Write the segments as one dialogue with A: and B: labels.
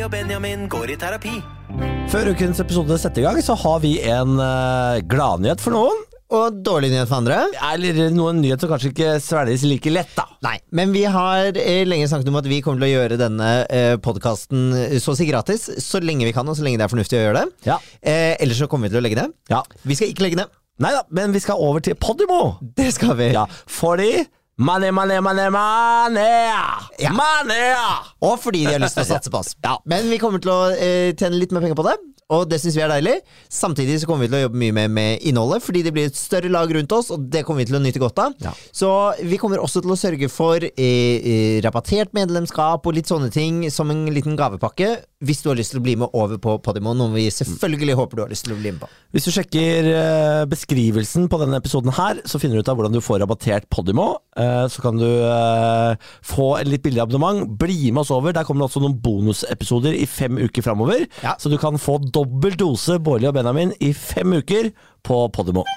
A: og Benjamin går i terapi.
B: Før ukens episode setter i gang, så har vi en eh, gladnyhet for noen.
C: Og dårlig nyhet for andre.
B: Eller noen nyhet som kanskje ikke svelges like lett, da.
C: Nei, men vi har eh, lenge snakket om at vi kommer til å gjøre denne eh, podkasten så å si gratis, så lenge vi kan, og så lenge det er fornuftig å gjøre det.
B: Ja.
C: Eh, ellers så kommer vi til å legge det.
B: Ja.
C: Vi skal ikke legge det.
B: Nei da, men vi skal over til Podimo.
C: Det skal vi.
B: Ja, fordi Money, money, money, money!
C: Ja.
B: Money!
C: Og fordi de har lyst til å satse på oss. Men vi kommer til å eh, tjene litt mer penger på det, og det syns vi er deilig. Samtidig så kommer vi til å jobbe mye mer med innholdet, fordi det blir et større lag rundt oss, og det kommer vi til å nyte godt av.
B: Ja.
C: Så vi kommer også til å sørge for eh, eh, rabattert medlemskap og litt sånne ting som en liten gavepakke, hvis du har lyst til å bli med over på Podimo, noe vi selvfølgelig håper du har lyst til å bli med på.
B: Hvis du sjekker eh, beskrivelsen på denne episoden her, så finner du ut av hvordan du får rabattert Podimo. Eh, så kan du eh, få et litt billig abonnement. Bli med oss over. Der kommer det også noen bonusepisoder i fem uker framover.
C: Ja.
B: Så du kan få dobbel dose Bårli og Benjamin i fem uker på Podimo.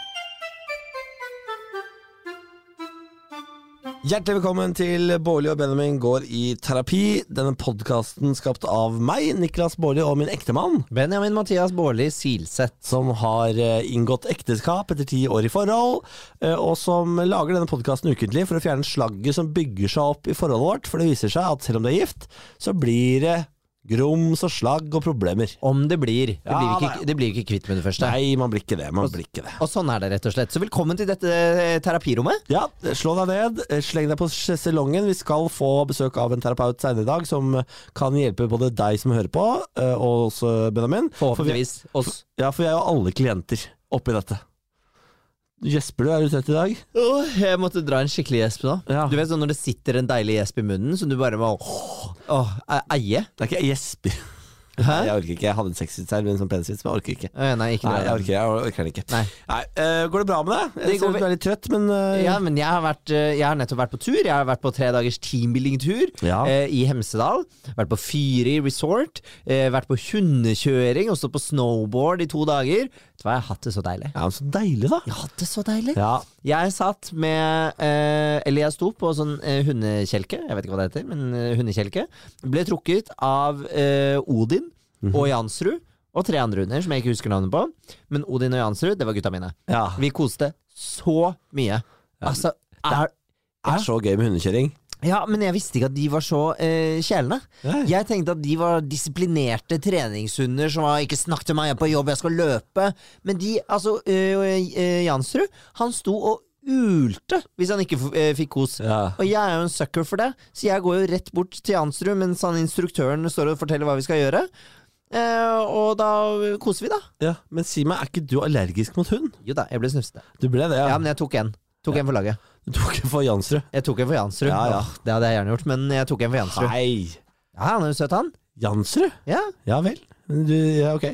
B: Hjertelig velkommen til Bårli og Benjamin går i terapi. Denne podkasten skapt av meg, Niklas Bårli, og min ektemann
C: Benjamin Mathias Baarli Silseth.
B: som har eh, inngått ekteskap etter ti år i forhold, eh, og som lager denne podkasten ukentlig for å fjerne slagget som bygger seg opp i forholdet vårt, for det viser seg at selv om det er gift, så blir det grums og slagg og problemer.
C: Om det blir. Det
B: Ja,
C: blir vi
B: da, ja.
C: ikke, det blir vi ikke kvitt med det første.
B: Nei, man blir ikke det. Man blir ikke det.
C: Og sånn er det, rett og slett. Så velkommen til dette eh, terapirommet.
B: Ja, slå deg ned, eh, sleng deg på sjeselongen. Vi skal få besøk av en terapeut senere i dag som kan hjelpe både deg som hører på, eh, og også Benjamin.
C: Forhåpentligvis oss.
B: For vi, ja, for vi er jo alle klienter oppi dette. Gjesper du? Er du trett i dag?
C: Åh, jeg måtte dra en skikkelig gjesp nå.
B: Ja.
C: Du vet sånn når det sitter en deilig gjesp i munnen, som du bare må åh, åh, e- eie?
B: Det er ikke Jesper.
C: Hæ?
B: Nei, Jeg orker ikke. Jeg hadde en sexvits her, men en sånn penisvits, men jeg orker ikke.
C: Eh, Nei, ikke
B: Nei, jeg
C: noe.
B: orker, jeg orker den ikke.
C: Nei.
B: eh, går det bra med deg?
C: Det går
B: Jeg ser ut
C: ve-
B: du er litt trøtt, men eh,
C: Ja, men jeg har, vært, eh, jeg har nettopp vært på tur. Jeg har vært på tre dagers teambuilding-tur
B: Ja.
C: eh, i Hemsedal. Vært på Fyri resort. Eh, vært på hundekjøring og stått på snowboard i to dager. Vet du hva, jeg har hatt det så deilig.
B: ja, men Så deilig, da.
C: Jeg har hatt det så deilig.
B: Ja.
C: Jeg satt med eh, Eller jeg sto på sånn eh, hundekjelke. Jeg vet ikke hva det heter, men eh, hundekjelke. Ble trukket av eh, Odin og Jansrud og tre andre hunder som jeg ikke husker navnet på. Men Odin og Jansrud, det var gutta mine.
B: ja.
C: Vi koste så mye. Altså, er,
B: Det er så gøy med hundekjøring.
C: ja, men jeg visste ikke at de var så eh, kjælende.
B: Nei.
C: Jeg tenkte at de var disiplinerte treningshunder som var 'ikke snakk til meg, jeg er på jobb, jeg skal løpe'. Men de, altså eh, eh, Jansrud, han sto og ulte hvis han ikke f- eh, fikk kos.
B: Ja.
C: Og jeg er jo en sucker for det, så jeg går jo rett bort til Jansrud mens han instruktøren står og forteller hva vi skal gjøre. Eh, og da koser vi, da.
B: Ja. Men si meg, er ikke du allergisk mot hund?
C: Jo da, jeg ble snufsete.
B: Du ble det,
C: Ja.
B: ja.
C: men jeg tok en. Tok en for laget.
B: Du tok en for Jansrud.
C: Jeg tok en for Jansrud.
B: Ja, ja.
C: Åh, Det hadde jeg gjerne gjort, men jeg tok en for Jansrud.
B: Nei.
C: Ja, han er jo søt, han.
B: Jansrud?
C: Ja,
B: Ja vel. Men Du, ja, ok.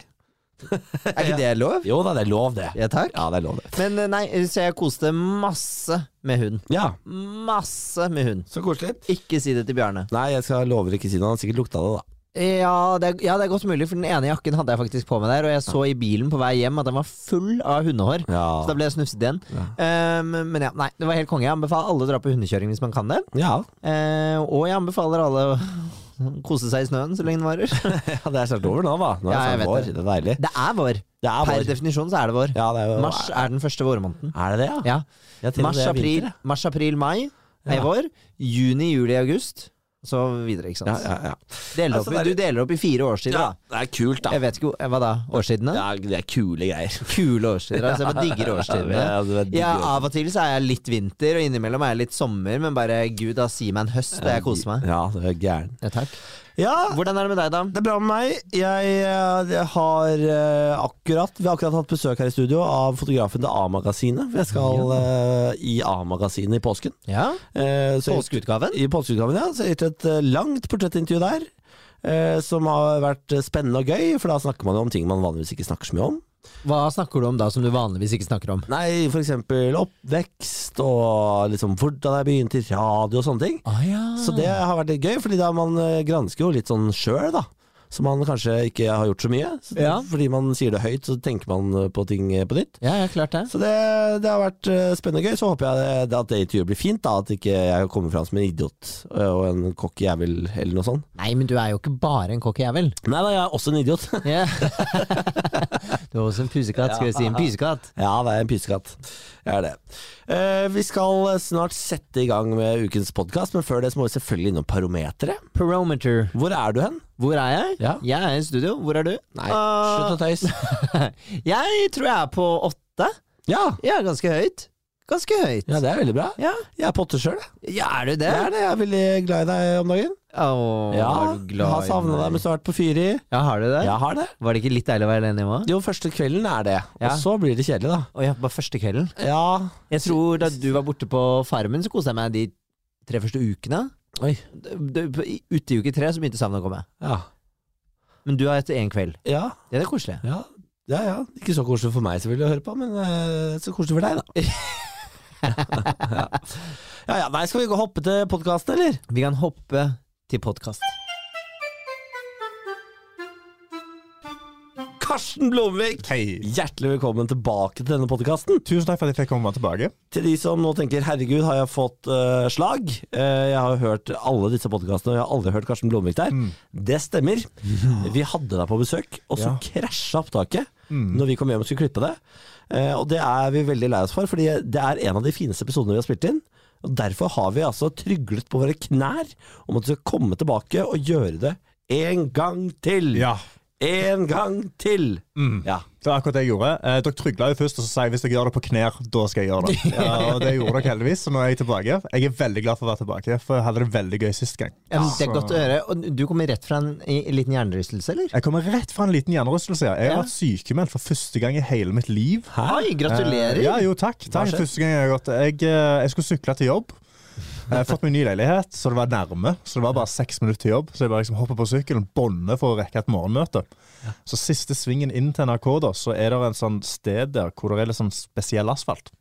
C: Er ikke det lov?
B: Jo da, det er lov, det.
C: Ja, takk.
B: Ja, det er lov, det.
C: Men eh, nei, så jeg koste masse med hund.
B: Ja.
C: Masse med hund.
B: Så koselig.
C: Ikke si det til Bjarne.
B: Nei, jeg skal lover ikke si noe. Han har sikkert lukta det, da.
C: Ja det, er, ja, det er godt mulig, for den ene jakken hadde jeg faktisk på meg der, og jeg så i bilen på vei hjem at den var full av hundehår. Så da
B: Ja.
C: ble jeg snufset igjen. Um, men ja, nei, det var helt konge. Jeg anbefaler alle å dra på hundekjøring hvis man kan det.
B: ja.
C: Eh, og jeg anbefaler alle å kose seg i snøen så lenge den varer.
B: Ja, det er snart over nå, da. Nå er
C: Ja, jeg
B: det
C: vet
B: snart vår.
C: det.
B: Det er deilig.
C: Det er vår.
B: Det er
C: Per
B: vår.
C: definisjon så er det vår.
B: Ja, det er jo
C: Mars er den første vårmåneden.
B: Er det det, ja?
C: Ja.
B: Ja, til og med
C: Mars,
B: det er
C: april,
B: vinter,
C: mars, april, mai er
B: Ja.
C: vår. Juni, juli, august. Så videre, ikke
B: ja.
C: sant.
B: ja, ja, ja.
C: Deler opp,
B: Altså, det
C: i-
B: er-
C: du deler opp i fire årstider,
B: ja.
C: da.
B: Det er kult, da.
C: Jeg vet ikke hva da? Årstidene?
B: Ja, det er kule greier.
C: Kule årstider. Altså, jeg bare digger
B: Ja,
C: årstidene.
B: det er digg
C: Ja,
B: årstid.
C: Av og til så er jeg litt vinter, og innimellom er jeg litt sommer, men bare gud, da si meg en høst, og jeg koser meg.
B: Ja, du er gæren.
C: Ja, takk.
B: Ja,
C: Hvordan er det med deg, da?
B: det er bra med meg. Jeg, eh, jeg har eh, akkurat Vi har akkurat hatt besøk her i studio av fotografen til A-magasinet. Jeg skal eh, i A-magasinet i påsken.
C: Ja,
B: Eh, så-
C: Påskeutgaven?
B: I påskeutgaven, ja. Så jeg har gjort et eh, langt portrettintervju der. eh, Som har vært eh, spennende og gøy, for da snakker man jo om ting man vanligvis ikke snakker så mye om.
C: Hva snakker du om da som du vanligvis ikke snakker om?
B: Nei, for eksempel oppvekst og liksom hvordan jeg begynte i radio og sånne ting.
C: Ah, ja.
B: Så det har vært litt gøy, fordi da man eh, gransker jo litt sånn sjøl, da. som man kanskje ikke har gjort så mye. Så det,
C: Ja.
B: Fordi man sier det høyt, så tenker man eh, på ting på nytt.
C: Ja, ja, klart det.
B: Så det, det har vært eh, spennende og gøy. Så håper jeg det, at det intervjuet blir fint, da. At ikke jeg kommer fram som en idiot eh, og en kokk jævel eller noe sånt.
C: Nei, men du er jo ikke bare en kokkejævel.
B: Nei da, jeg er også en idiot.
C: Ja. du er også en pusekatt, skal vi si. En pusekatt.
B: ja, det er en pysekatt. Jeg er det. Eh, vi skal snart sette i gang med ukens podkast, men før det så må vi selvfølgelig innom Parometeret.
C: Parometer.
B: Hvor er du hen?
C: Hvor er jeg?
B: Ja.
C: Jeg er i studio. Hvor er du?
B: Nei,
C: Ah.
B: slutt å tøys.
C: jeg tror jeg er på åtte.
B: Ja.
C: Ja, ganske høyt. Ganske høyt.
B: ja, det er veldig bra.
C: Ja,
B: Jeg er potter sjøl, jeg.
C: ja er du det?
B: Jeg er det. Jeg er veldig glad i deg om dagen.
C: Åh,
B: Ja,
C: er du
B: jeg har savna
C: i
B: deg
C: meg?
B: mens du har vært på Fyri.
C: Ja, har du det?
B: Jeg har det.
C: Var det ikke litt deilig å være alene hjemme?
B: Jo, første kvelden er det.
C: Ja.
B: Og så blir det kjedelig, da.
C: Å ja, bare første kvelden.
B: Ja,
C: Jeg tror da du var borte på Farmen, så koste jeg meg de tre første ukene.
B: Oi.
C: D- d- i- Ute i uke tre så begynte savnet å komme.
B: ja,
C: Men du har etter én kveld.
B: ja.
C: Ja, det er koselig.
B: ja. Ja, ja. Ikke så koselig for meg selvfølgelig å høre på, men eh, så koselig for deg, da. ja. ja ja, nei, skal vi gå og hoppe til podkasten, eller?
C: Vi kan hoppe til podkast.
B: Karsten Blomvik!
A: Hei.
B: Hjertelig velkommen tilbake til denne podkasten.
A: Tusen takk for at jeg fikk komme tilbake.
B: Til de som nå tenker 'herregud, har jeg fått eh, slag'? Eh, jeg har jo hørt alle disse podkastene, og jeg har aldri hørt Karsten Blomvik der.
A: Mm.
B: Det stemmer. Vi hadde deg på besøk, og så
A: Ja. Mm.
B: krasja opptaket når vi kom hjem og skulle klippe det. Eh, og det er vi veldig lei oss for, fordi det er en av de fineste episodene vi har spilt inn. Og derfor har vi altså tryglet på våre knær om at du skal komme tilbake og gjøre det en gang til.
A: Ja. Mm.
B: En gang til! Ja.
A: Det var akkurat det jeg gjorde. Eh, dere trygla jo først, og så sa jeg hvis dere gjør det på knær, da skal jeg gjøre det. Ja, og det gjorde dere heldigvis, så nå er jeg tilbake. Jeg er veldig glad for å være tilbake, for jeg hadde det veldig gøy sist gang.
C: Ja, men det
B: Altså-
C: er
A: Så-
C: godt eh. å høre. Og du kommer rett fra en, en liten hjernerystelse, eller?
A: Jeg kommer rett fra en liten hjernerystelse. ja. Jeg har
C: Ja.
A: vært sykemeldt for første gang i hele mitt liv.
C: Oi, gratulerer!
A: Eh, Ja, jo, takk.
B: Hva
A: takk.
B: skjedde?
A: Første gang jeg har gått. Jeg, eh, jeg skulle sykle til jobb. Jeg har fått meg ny leilighet, så det var nærme. Så det var bare seks minutter til jobb. Så jeg bare liksom hopper på sykkelen, bånder for å rekke et morgenmøte. Så siste svingen inn til NRK, da, så er det en sånn sted der hvor det er litt sånn spesiell asfalt.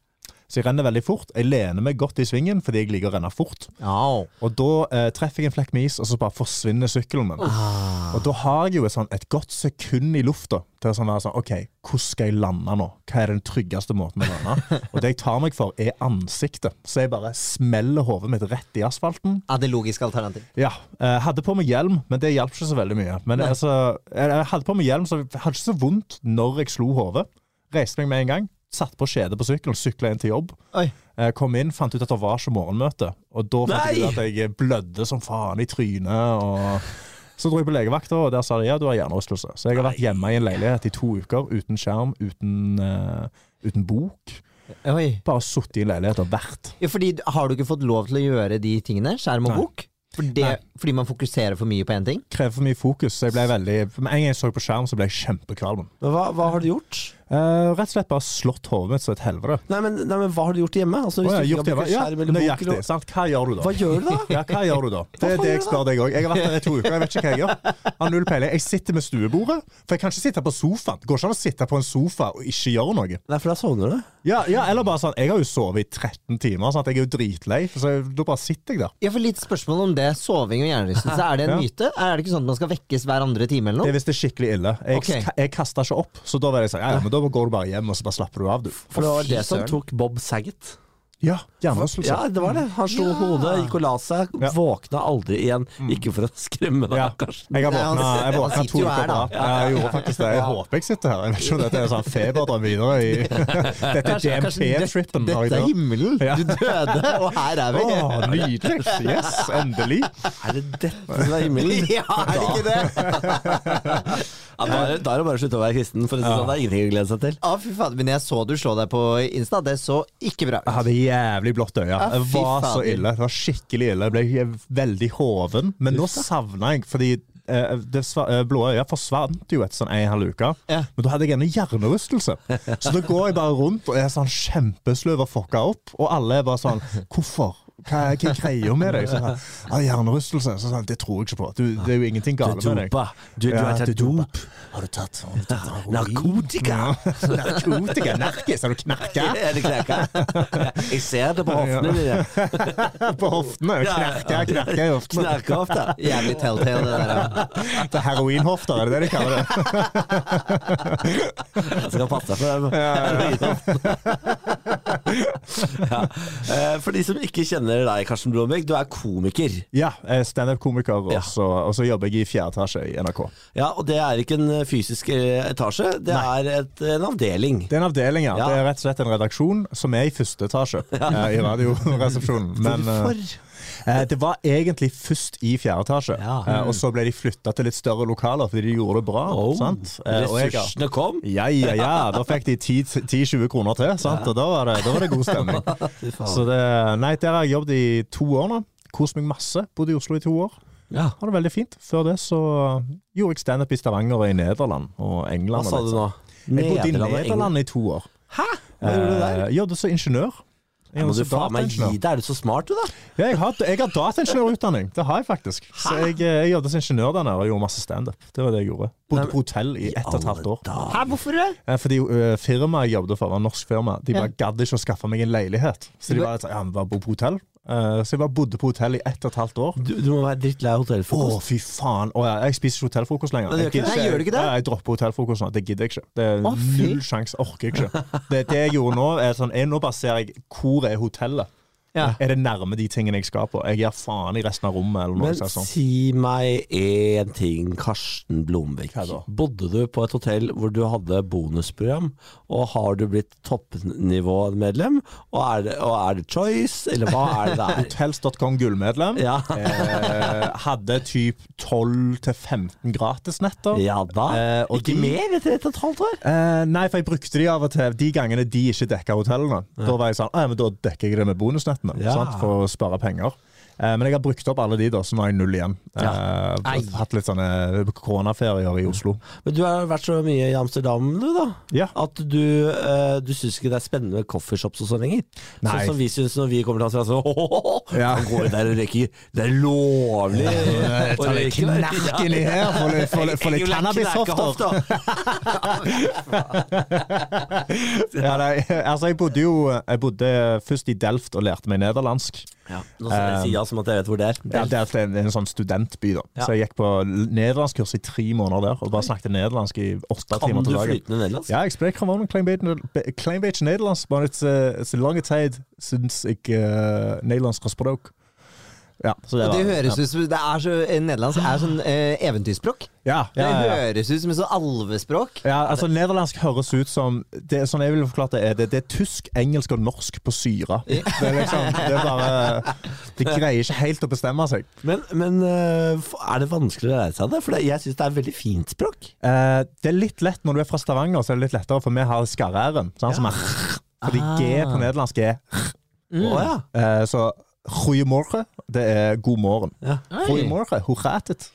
A: Så jeg renner veldig fort. Jeg lener meg godt i svingen fordi jeg liker å renne fort.
C: Au.
A: Og da eh, treffer jeg en flekk med is, og så bare forsvinner sykkelen min. Og da har jeg jo et, sånn, et godt sekund i lufta til å sånn være sånn OK, hvordan skal jeg lande nå? Hva er den tryggeste måten å lande? Og det jeg tar meg for, er ansiktet. Så jeg bare smeller hodet mitt rett i asfalten.
C: Ja, det logiske alternativ.
A: Ja, eh, hadde på meg hjelm, men det hjalp ikke så veldig mye. Men altså, jeg, jeg hadde på meg hjelm, så jeg hadde ikke så vondt når jeg slo hodet. Reiste meg med en gang, satt på skjedet på sykkelen, sykla inn til jobb.
C: Oi.
A: Eh, Kom inn, fant ut at det var ikke morgenmøte. Og da fant jeg
B: Nei!
A: ut at jeg blødde som faen i trynet. Og så dro jeg på legevakta, og der sa de ja, du har hjernerystelse. Så jeg har vært hjemme i en leilighet i to uker uten skjerm, uten, eh, uten bok.
C: Oi.
A: Bare sittet i en leilighet og vært.
C: Ja, fordi har du ikke fått lov til å gjøre de tingene? Skjerm og
A: Nei.
C: bok? For det, fordi man fokuserer for mye på én ting?
A: Krever for mye fokus. Så jeg ble veldig Med en gang jeg så på skjerm, så ble jeg kjempekvalm.
B: Men hva, hva har du gjort?
A: Eh, rett og slett bare slått hodet mitt som et helvete.
B: Nei men, nei, men hva har du gjort hjemme? Altså, hvis
A: Å,
B: du
A: jeg
B: ikke
A: har
B: kan bruke
A: gjort det, ja,
B: skjerm eller bok,
A: nøyaktig.
B: eller-
A: Sant? Hva gjør du da?
B: hva gjør du da?
A: Ja, hva gjør du da? Det er
B: faen
A: det
B: gjør
A: jeg
B: du
A: spør deg òg. Jeg har vært der i to uker, jeg vet ikke hva jeg gjør. Har null peiling. Jeg sitter med stuebordet, for jeg kan ikke sitte på sofaen. Går ikke an å sitte på en sofa og ikke gjøre noe.
B: Nei, for da sovner du.
A: Ja, ja, eller bare sånn, jeg har jo sovet i 13 timer, sant? jeg er jo dritlei, så jeg- da bare sitter jeg der.
C: Ja, for litt spørsmål om det. Soving og hjernerystelse, er det en
A: Ja.
C: myte? Er det ikke sånn at man skal vekkes hver andre time eller
A: Det er
C: noe?
A: hvis det er skikkelig ille. Jeg,
C: Ok.
A: jeg kasta ikke opp, så da var jeg sånn, ja, ja, men da går du bare hjem, og så bare slapper du av, du.
B: For det
C: Å,
B: var
C: fy
B: det som
C: søren.
B: tok Bob Saget.
A: Ja, hjernerystelse.
B: Ja, det var det. Han slo
C: Ja.
B: hodet, gikk og la seg,
A: Ja.
B: våkna aldri igjen. Ikke for å skremme deg,
A: Ja.
B: Karsten.
A: Jeg har
C: Nei, han-
A: våkna
C: han
A: jeg våkna
C: sitter
A: to
C: jo
A: uker
C: her,
A: på
C: da.
A: rad. Ja, jeg gjorde faktisk det. Jeg håper jeg sitter her. Jeg vet ikke om dette er en sånn feberdrøm videre i Dette er DMT-trippen.
C: Dette er himmelen!
A: Ja.
C: Du døde, og her er vi!
A: Åh, nydelig! Yes, endelig.
B: Er det dette som er himmelen?
C: Ja, er det ikke det?
B: Ja, da, er, det- da er det bare å slutte å være kristen, for det, sånn, det er ingenting å glede seg til.
C: Å, fy fader. Men jeg så du slå deg på Insta. Det så ikke bra
A: Jeg
C: ut.
A: hadde jævlig blått øye.
C: Ja,
A: Det
C: fy
A: var så
C: fader.
A: ille. Det var skikkelig ille. Jeg ble veldig hoven. Men nå savna jeg, fordi eh, det sva- eh, blå øyet forsvant jo etter sånn en halv uke.
C: Ja.
A: Men da hadde jeg ennå hjernerystelse. Så da går jeg bare rundt og er sånn kjempesløv og fucka opp. Og alle er bare sånn Hvorfor? hva er hva er greia med deg? Så sa han, «Ah, Hjernerystelse. Så sa han, det tror jeg ikke på. Du, det er jo ingenting galt med deg.
B: Dopa. Du, du
A: Ja,
B: har
A: du
B: tatt
A: dopa.
B: dop.
A: Har du tatt, har du tatt heroin?
B: Narkotika!
A: Ja. Narkotika? Narkis? Har du knarka
B: Er det knekka? Jeg ser det på hoftene dine.
A: på hoftene? Knarka, knarka i hoftene.
B: Knerker ofte.
C: Jævlig telltale, det der. ja.
A: Det er heroinhofter, er det det de kaller det?
B: Jeg skal passe deg for det. Ja. Eh, For de som ikke kjenner deg, Karsten Blomvik, du er komiker.
A: Ja, jeg er standup-komiker, og
B: Ja.
A: så og så jobber jeg i fjerde etasje i NRK.
B: Ja, Og det er ikke en fysisk eh, etasje, det er et, en avdeling.
A: Det er en avdeling, ja.
B: Ja.
A: Det er rett og slett en redaksjon som er i første etasje eh, i Radioresepsjonen. Men eh,
B: Hvorfor?
A: eh, det var egentlig først i fjerde etasje,
B: Ja.
A: eh, og så ble de flytta til litt større lokaler fordi de gjorde det bra.
B: Oh,
A: sant? Eh, og jeg-
B: Ressursene kom.
A: Ja, ja, ja. Da fikk de 10 10-20 kroner til, sant? og da var, det, da var det god stemning.
B: Fy faen.
A: Så det, nei, der har jeg jobbet i to år nå. Kost meg masse. Bodde i Oslo i to år.
B: Ja.
A: Har det veldig fint. Før det så gjorde jeg standup i Stavanger og i Nederland og
B: Hva
A: England.
B: sa du
A: og litt
B: nå?
A: sånn. Jeg bodde i
B: Nederland og England.
A: Nederland i to år.
B: Hæ? Hva gjorde du der?
A: Eh, jobbet som ingeniør. Jeg
B: Må
A: er
B: du
A: også
B: faen meg gi
A: dataingeniør.
B: deg? Er du så smart, du, da?
A: Ja, jeg har, jeg har dataingeniørutdanning. Det har jeg faktisk. Så jeg, eh, jeg jobbet som ingeniør der nede og gjorde masse standup. Det var det jeg gjorde.
B: Nei,
A: Bodde
B: men-
A: på hotell i ett og et halvt år.
B: Alle
C: Hæ, hvorfor det?
A: Eh, Fordi ø, firmaet jeg jobbet for, var en norsk firma. De bare gadd ikke å skaffe meg en leilighet. Så de
C: Men-
A: bare sa ja, men bare bo på hotell. Eh, så jeg bare bodde på hotell i ett og et halvt år.
B: dager. Du, du må være drittlei av
A: Å,
B: hotellfrokost.
A: fy faen. Å, ja, jeg spiser ikke hotellfrokost lenger.
B: Nei, det gjør
A: Jeg
B: ikke
A: gidder
C: det. Nei, gjør du ikke det?
A: Ja, jeg dropper hotellfrokost nå. Det gidder jeg ikke. Det er
C: Å, fy.
A: Null sjanse. Orker jeg ikke. Det, det jeg gjorde nå, er sånn jeg, Nå baserer jeg hvor er hotellet.
C: Ja.
A: Er det nærme de tingene jeg skal på? Jeg gir faen i resten av rommet. eller noe
B: Men
A: sånt. sånn.
B: si meg én ting, Karsten Blomvik.
A: Hva da?
B: Bodde du på et hotell hvor du hadde bonusprogram, og har du blitt toppnivåmedlem? Og er det, og er det choice, eller hva er det det er?
A: Hotels.com gullmedlem.
B: Ja,
A: Eh, hadde typ 12-15 gratisnetter.
B: ja da.
A: Eh, og
B: Ikke
A: de-
B: mer etter ett og et halvt år?
A: Eh, nei, for jeg brukte de av og til de gangene de ikke dekka hotellene. Da var jeg sånn, «Ah, ja, men da dekker jeg det med bonusnettene
B: Ja.
A: sant, for å spare penger. Eh, men jeg har brukt opp alle de, da, så nå har jeg null igjen.
B: Ja.
A: Eh, for jeg
C: Ei.
A: har hatt litt sånne koronaferier i Oslo.
B: Men du har vært så mye i Amsterdam, du, da.
A: Ja.
B: At du, eh, du syns ikke det er spennende med coffeeshops og sånn lenger.
A: Nei.
B: Sånn som vi syns når vi kommer til Amsterdam. Så,
A: Ja.
B: Han går jo der og røyker. Det er lovlig! å røyke der.
A: inni her, få litt, få litt, få litt
B: Jeg vil ha
A: cannabishofter.
B: knekehofta.
A: Ja, nei, altså, jeg bodde jo jeg bodde først i Delft og lærte meg nederlandsk.
B: Ja, nå skal jeg si ja som at jeg vet hvor det er.
A: Ja, Delft er en, en sånn studentby, da.
B: Ja.
A: Så jeg gikk på nederlandskkurs i tre måneder der, og bare snakket nederlandsk i åtte
B: Kan
A: timer
B: du
A: til dagen.
B: flytende nederlandsk?
A: Ja, jeg spreek gewoon een klein beetje, be- klein beetje Nederlands, maar het, eh, het is een lange tijd sinds ik eh, Nederlands gesproken. Ja, så
C: Og det
A: var-
C: høres ut som det er så, eh, Nederlandsk er sånn eh, eventyrspråk.
A: ja.
C: Det
A: Ja, ja, ja.
C: høres ut som et sånn alvespråk.
A: ja, altså Nederlandsk høres ut som det, er Sånn jeg ville forklart det, er det, det er tysk, engelsk og norsk på syre. Det er liksom, det er bare De greier ikke helt å bestemme seg.
B: Men, men øh, er det vanskelig å lære seg det? For det, jeg syns det er veldig fint språk.
A: Eh, det er litt lett når du er fra Stavanger, så er det litt lettere, for vi har skarre-r-en. sant, som er r. Fordi
C: Ah.
A: G på nederlandsk er
B: Å ja.
A: eh, Så goeiemorgen, det er god morgen.
B: ja.
A: Goedemorgen, hoe gaat het?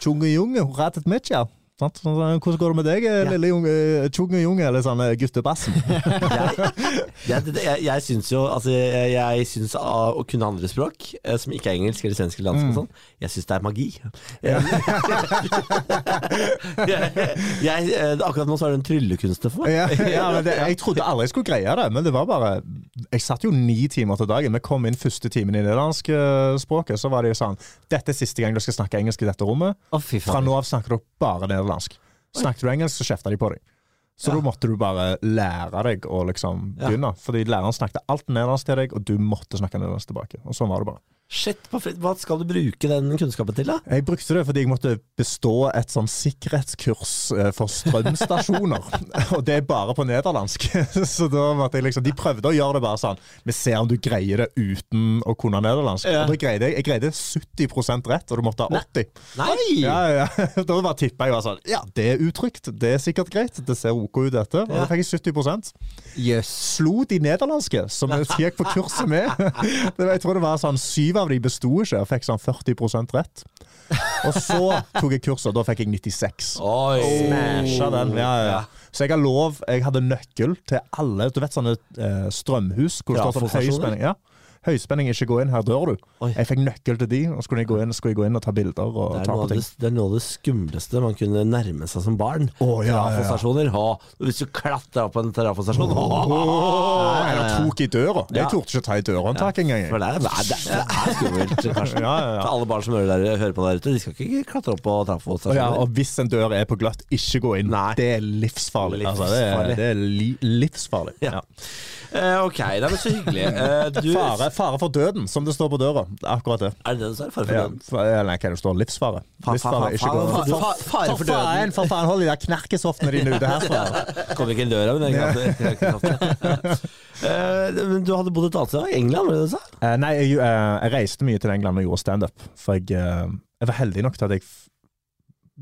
A: Tjonge jonge, hoe gaat het met jou? Sant? Sånn, sånn, Hvordan går det med deg, eh,
B: Ja.
A: lille junge, eh, tjonge junge, eller sånn eh, guttebassen?
B: Jeg, det- jeg, jeg syns jo altså, jeg, jeg syns av å kunne andre språk, eh, som ikke er engelsk eller svensk eller dansk,
A: Mm.
B: og sånn, jeg syns det er magi. jeg, jeg, eh, akkurat nå så er det en tryllekunstner for meg.
A: Ja, ja, men det, jeg trodde aldri jeg skulle greie det, men det var bare Jeg satt jo ni timer til dagen. Vi kom inn første timen i nederlandsk eh, språket, så var det jo sånn Dette er siste gang dere skal snakke engelsk i dette rommet.
C: Å, fy
A: Fra
C: faen.
A: nå av snakker dere bare nederlandsk. Snakket du engelsk, så kjefta de på deg. Så da måtte du bare lære deg å liksom
B: Ja.
A: begynne. Fordi læreren snakket alt nederlandsk til deg, og du måtte snakke nederlandsk tilbake. Og sånn var det bare.
B: Shit, på fri- Hva skal du bruke den kunnskapen til, da?
A: Jeg brukte det fordi jeg måtte bestå et sånn sikkerhetskurs eh, for strømstasjoner. og det er bare på nederlandsk. så da måtte jeg liksom, De prøvde å gjøre det bare sånn Vi ser om du greier det uten å kunne nederlandsk.
C: Ja.
A: Og da greide jeg, jeg greide 70 rett, og du måtte ha 80.
C: Nei!
A: Ja, ja, ja. Da bare tippa jeg var sånn Ja, det er utrygt. Det er sikkert greit. Det ser OK ut, dette. Og
B: Ja.
A: da fikk jeg 70
C: Jøss.
A: slo de nederlandske, som jeg gikk på kurset med. Det var, jeg tror det var sånn Syv av de besto ikke, og fikk sånn 40 rett. Og så tok jeg kurset, og da fikk jeg 96. Smasha den. Ja, ja, ja. Så jeg har lov Jeg hadde nøkkel til alle Du vet sånne eh, strømhus hvor det
B: Ja,
A: står sånn
B: for stasjoner.
A: høyspenning? Ja. Høyspenning, ikke gå inn, her dør du.
B: Oi.
A: Jeg fikk nøkkel til de, og så kunne jeg gå inn, skulle jeg gå inn og ta bilder og
B: Det er,
A: ta
B: noe
A: på
B: av det,
A: ting.
B: det er noe av det skumleste man kunne nærme seg som barn.
A: Å, ja, ja, ja.
B: Trafostasjoner. Å, Hvis du klatrer opp en trafostasjon
A: Åh,
B: Åh!
A: jeg tok i døra.
B: Ja.
A: Jeg torde ikke ta i dørhåndtak engang.
B: For
A: jeg.
B: det er, det er, det er skummelt, Karsten.
A: Ja, ja, ja.
B: Til alle barn som hører, der, hører på der ute, de skal ikke klatre opp på
A: Og, ja,
B: trafostasjoner.
A: og hvis en dør er på gløtt, ikke gå inn.
B: Nei.
A: Det er livsfarlig. Altså, det
B: Livsfarlig.
A: er, det er li livsfarlig.
B: Ja. Eh, ok, det er så hyggelig. Eh, du,
A: Fare, fare for døden, som det står på døra. Det er Akkurat det.
B: Er det det du sa? Fare for
A: Ja,
B: døden?
A: fa- Eller hva det står. Livsfare.
B: Fa- fa- fa-
A: Livsfare, ikke
B: fa-
A: gå
B: fa-
A: inn.
C: fa- fare for døden.
A: faen, for faen, hold de der knerkesoftene dine ute herfra.
B: Kommer ikke inn døra, men jeg kan ikke Eh, Men du hadde bodd et annet sted, da? England, var det det du sa?
A: Eh, nei, jeg, eh, jeg reiste mye til England og gjorde standup. For jeg, eh, jeg var heldig nok til at jeg f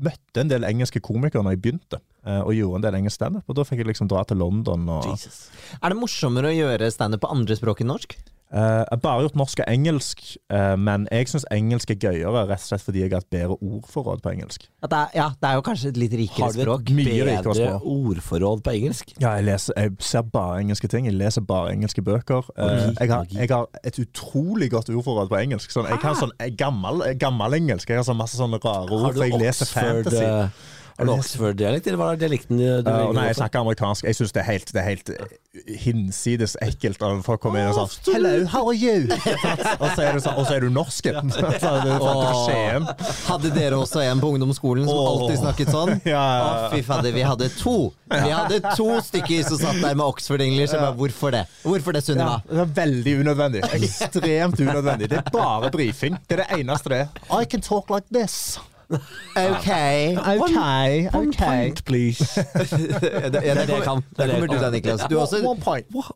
A: møtte en del engelske komikere når jeg begynte, eh, og gjorde en del engelsk standup. Og da fikk jeg liksom dra til London og
B: Jesus.
C: Er det morsommere å gjøre standup på andre språk enn norsk?
A: Eh, Jeg har bare gjort norsk og engelsk, eh, men jeg syns engelsk er gøyere rett og slett fordi jeg har et bedre ordforråd på engelsk.
C: At det er, ja, det er jo kanskje et litt rikere
B: Har du et
C: språk.
A: Mye rikere
B: Bedre
A: språk.
B: ordforråd på engelsk.
A: Ja, jeg, leser, jeg ser bare engelske ting. Jeg leser bare engelske bøker. Eh,
B: Magi,
A: jeg, har,
B: magi.
A: jeg har et utrolig godt ordforråd på engelsk. Sånn, jeg kan sånn eh, gammel, eh, gammel engelsk. Jeg har sånn masse sånne rare ord, for jeg leser
B: Oxford,
A: fantasy.
B: eh, Har du
A: Jeg leser-
B: Oxford-dialekt, eller hva er dialekten du du
A: Eh,
B: velger
A: nei,
B: å
A: jeg
B: gå for?
A: snakker amerikansk. Jeg syns det er helt, det er helt eh, hinsides ekkelt når folk kommer inn og sånn Hello, how are you? og så er du, sånn, og så er du norsken. så er det sånn, fra Skien.
C: Hadde dere også en på ungdomsskolen som
A: Åh.
C: alltid snakket sånn?
A: Ja, ja, ja.
C: Å, fy fader, vi hadde to! Vi hadde to stykker som satt der med Oxford English. Jeg bare, hvorfor det? Hvorfor det,
A: Ja,
C: Sunniva?
A: det er veldig unødvendig. Ekstremt unødvendig. Det er bare brifing. Det er det eneste det er. I can talk like this.
C: Ok, ok, ok.
A: please.
C: Ja, det, ja, det
B: Det er det jeg kan.
C: kommer,
B: Det er
C: der
B: det jeg
C: kommer du
B: kan.
C: da, Niklas. Du har også,
A: One point.
B: Wha-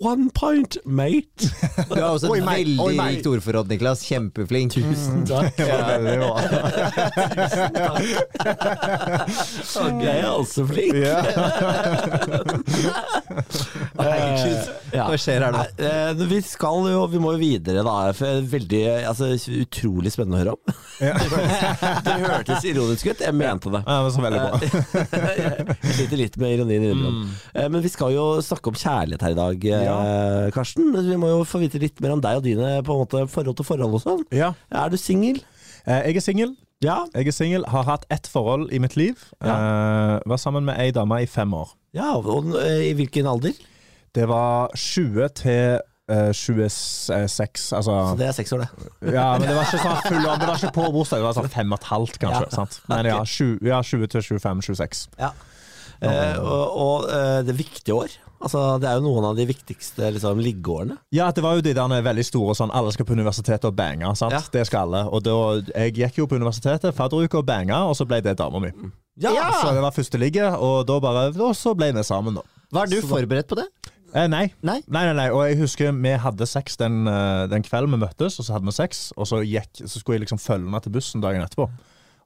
B: One point, mate.
C: du har også
A: Oi,
C: et
A: meg. Oi,
C: veldig
A: meg.
C: rikt ordforråd, Niklas. Kjempeflink.
B: Tusen takk.
A: Det var veldig bra.
B: Jeg er også flink.
A: Ja.
B: Ja.
C: Hva skjer her nå?
B: Nei, eh, Vi skal jo, vi må jo videre da for det er Veldig, altså utrolig spennende å høre om Det hørtes ironisk ut, jeg mente det
A: Ja, det var så veldig bra.
B: Jeg sliter litt med ironien innimellom. Eh, Men vi skal jo snakke om kjærlighet her i dag, eh, Karsten. Vi må jo få vite litt mer om deg og dine på en måte, forhold til forhold og sånn.
A: Ja.
B: Er du singel?
A: Eh, Jeg er singel.
B: Ja.
A: Jeg er singel, har hatt ett forhold i mitt liv. Eh, Var sammen med ei dame i fem år.
B: ja. Og eh, i hvilken alder?
A: Det var 20 til eh, 26, altså
B: Så det er seks år, det.
A: Ja, men det var ikke sånn full on, det var ikke på bursdag, det var sånn fem og et halvt kanskje.
B: Ja.
A: Sant? Men ja, 20, ja, 20 til 25, 26.
B: Ja. Eh, og og eh, det er viktige år. Altså, det er jo noen av de viktigste liksom, liggeårene.
A: Ja, det var jo de der veldig store sånn, alle skal på universitetet og bange, sant?
B: Ja.
A: Det skal alle. Og da, jeg gikk jo på universitetet, fadderuke og banga, og så ble det dama mi.
B: Ja!
A: Så det var første ligge, og da bare, og så ble vi sammen da.
C: Var du forberedt på det?
A: Eh, nei.
C: Nei?
A: Nei, nei, nei, og jeg husker vi hadde sex den, eh, den kvelden vi møttes, og så hadde vi sex, og så, gikk, så skulle jeg liksom følge henne til bussen dagen etterpå.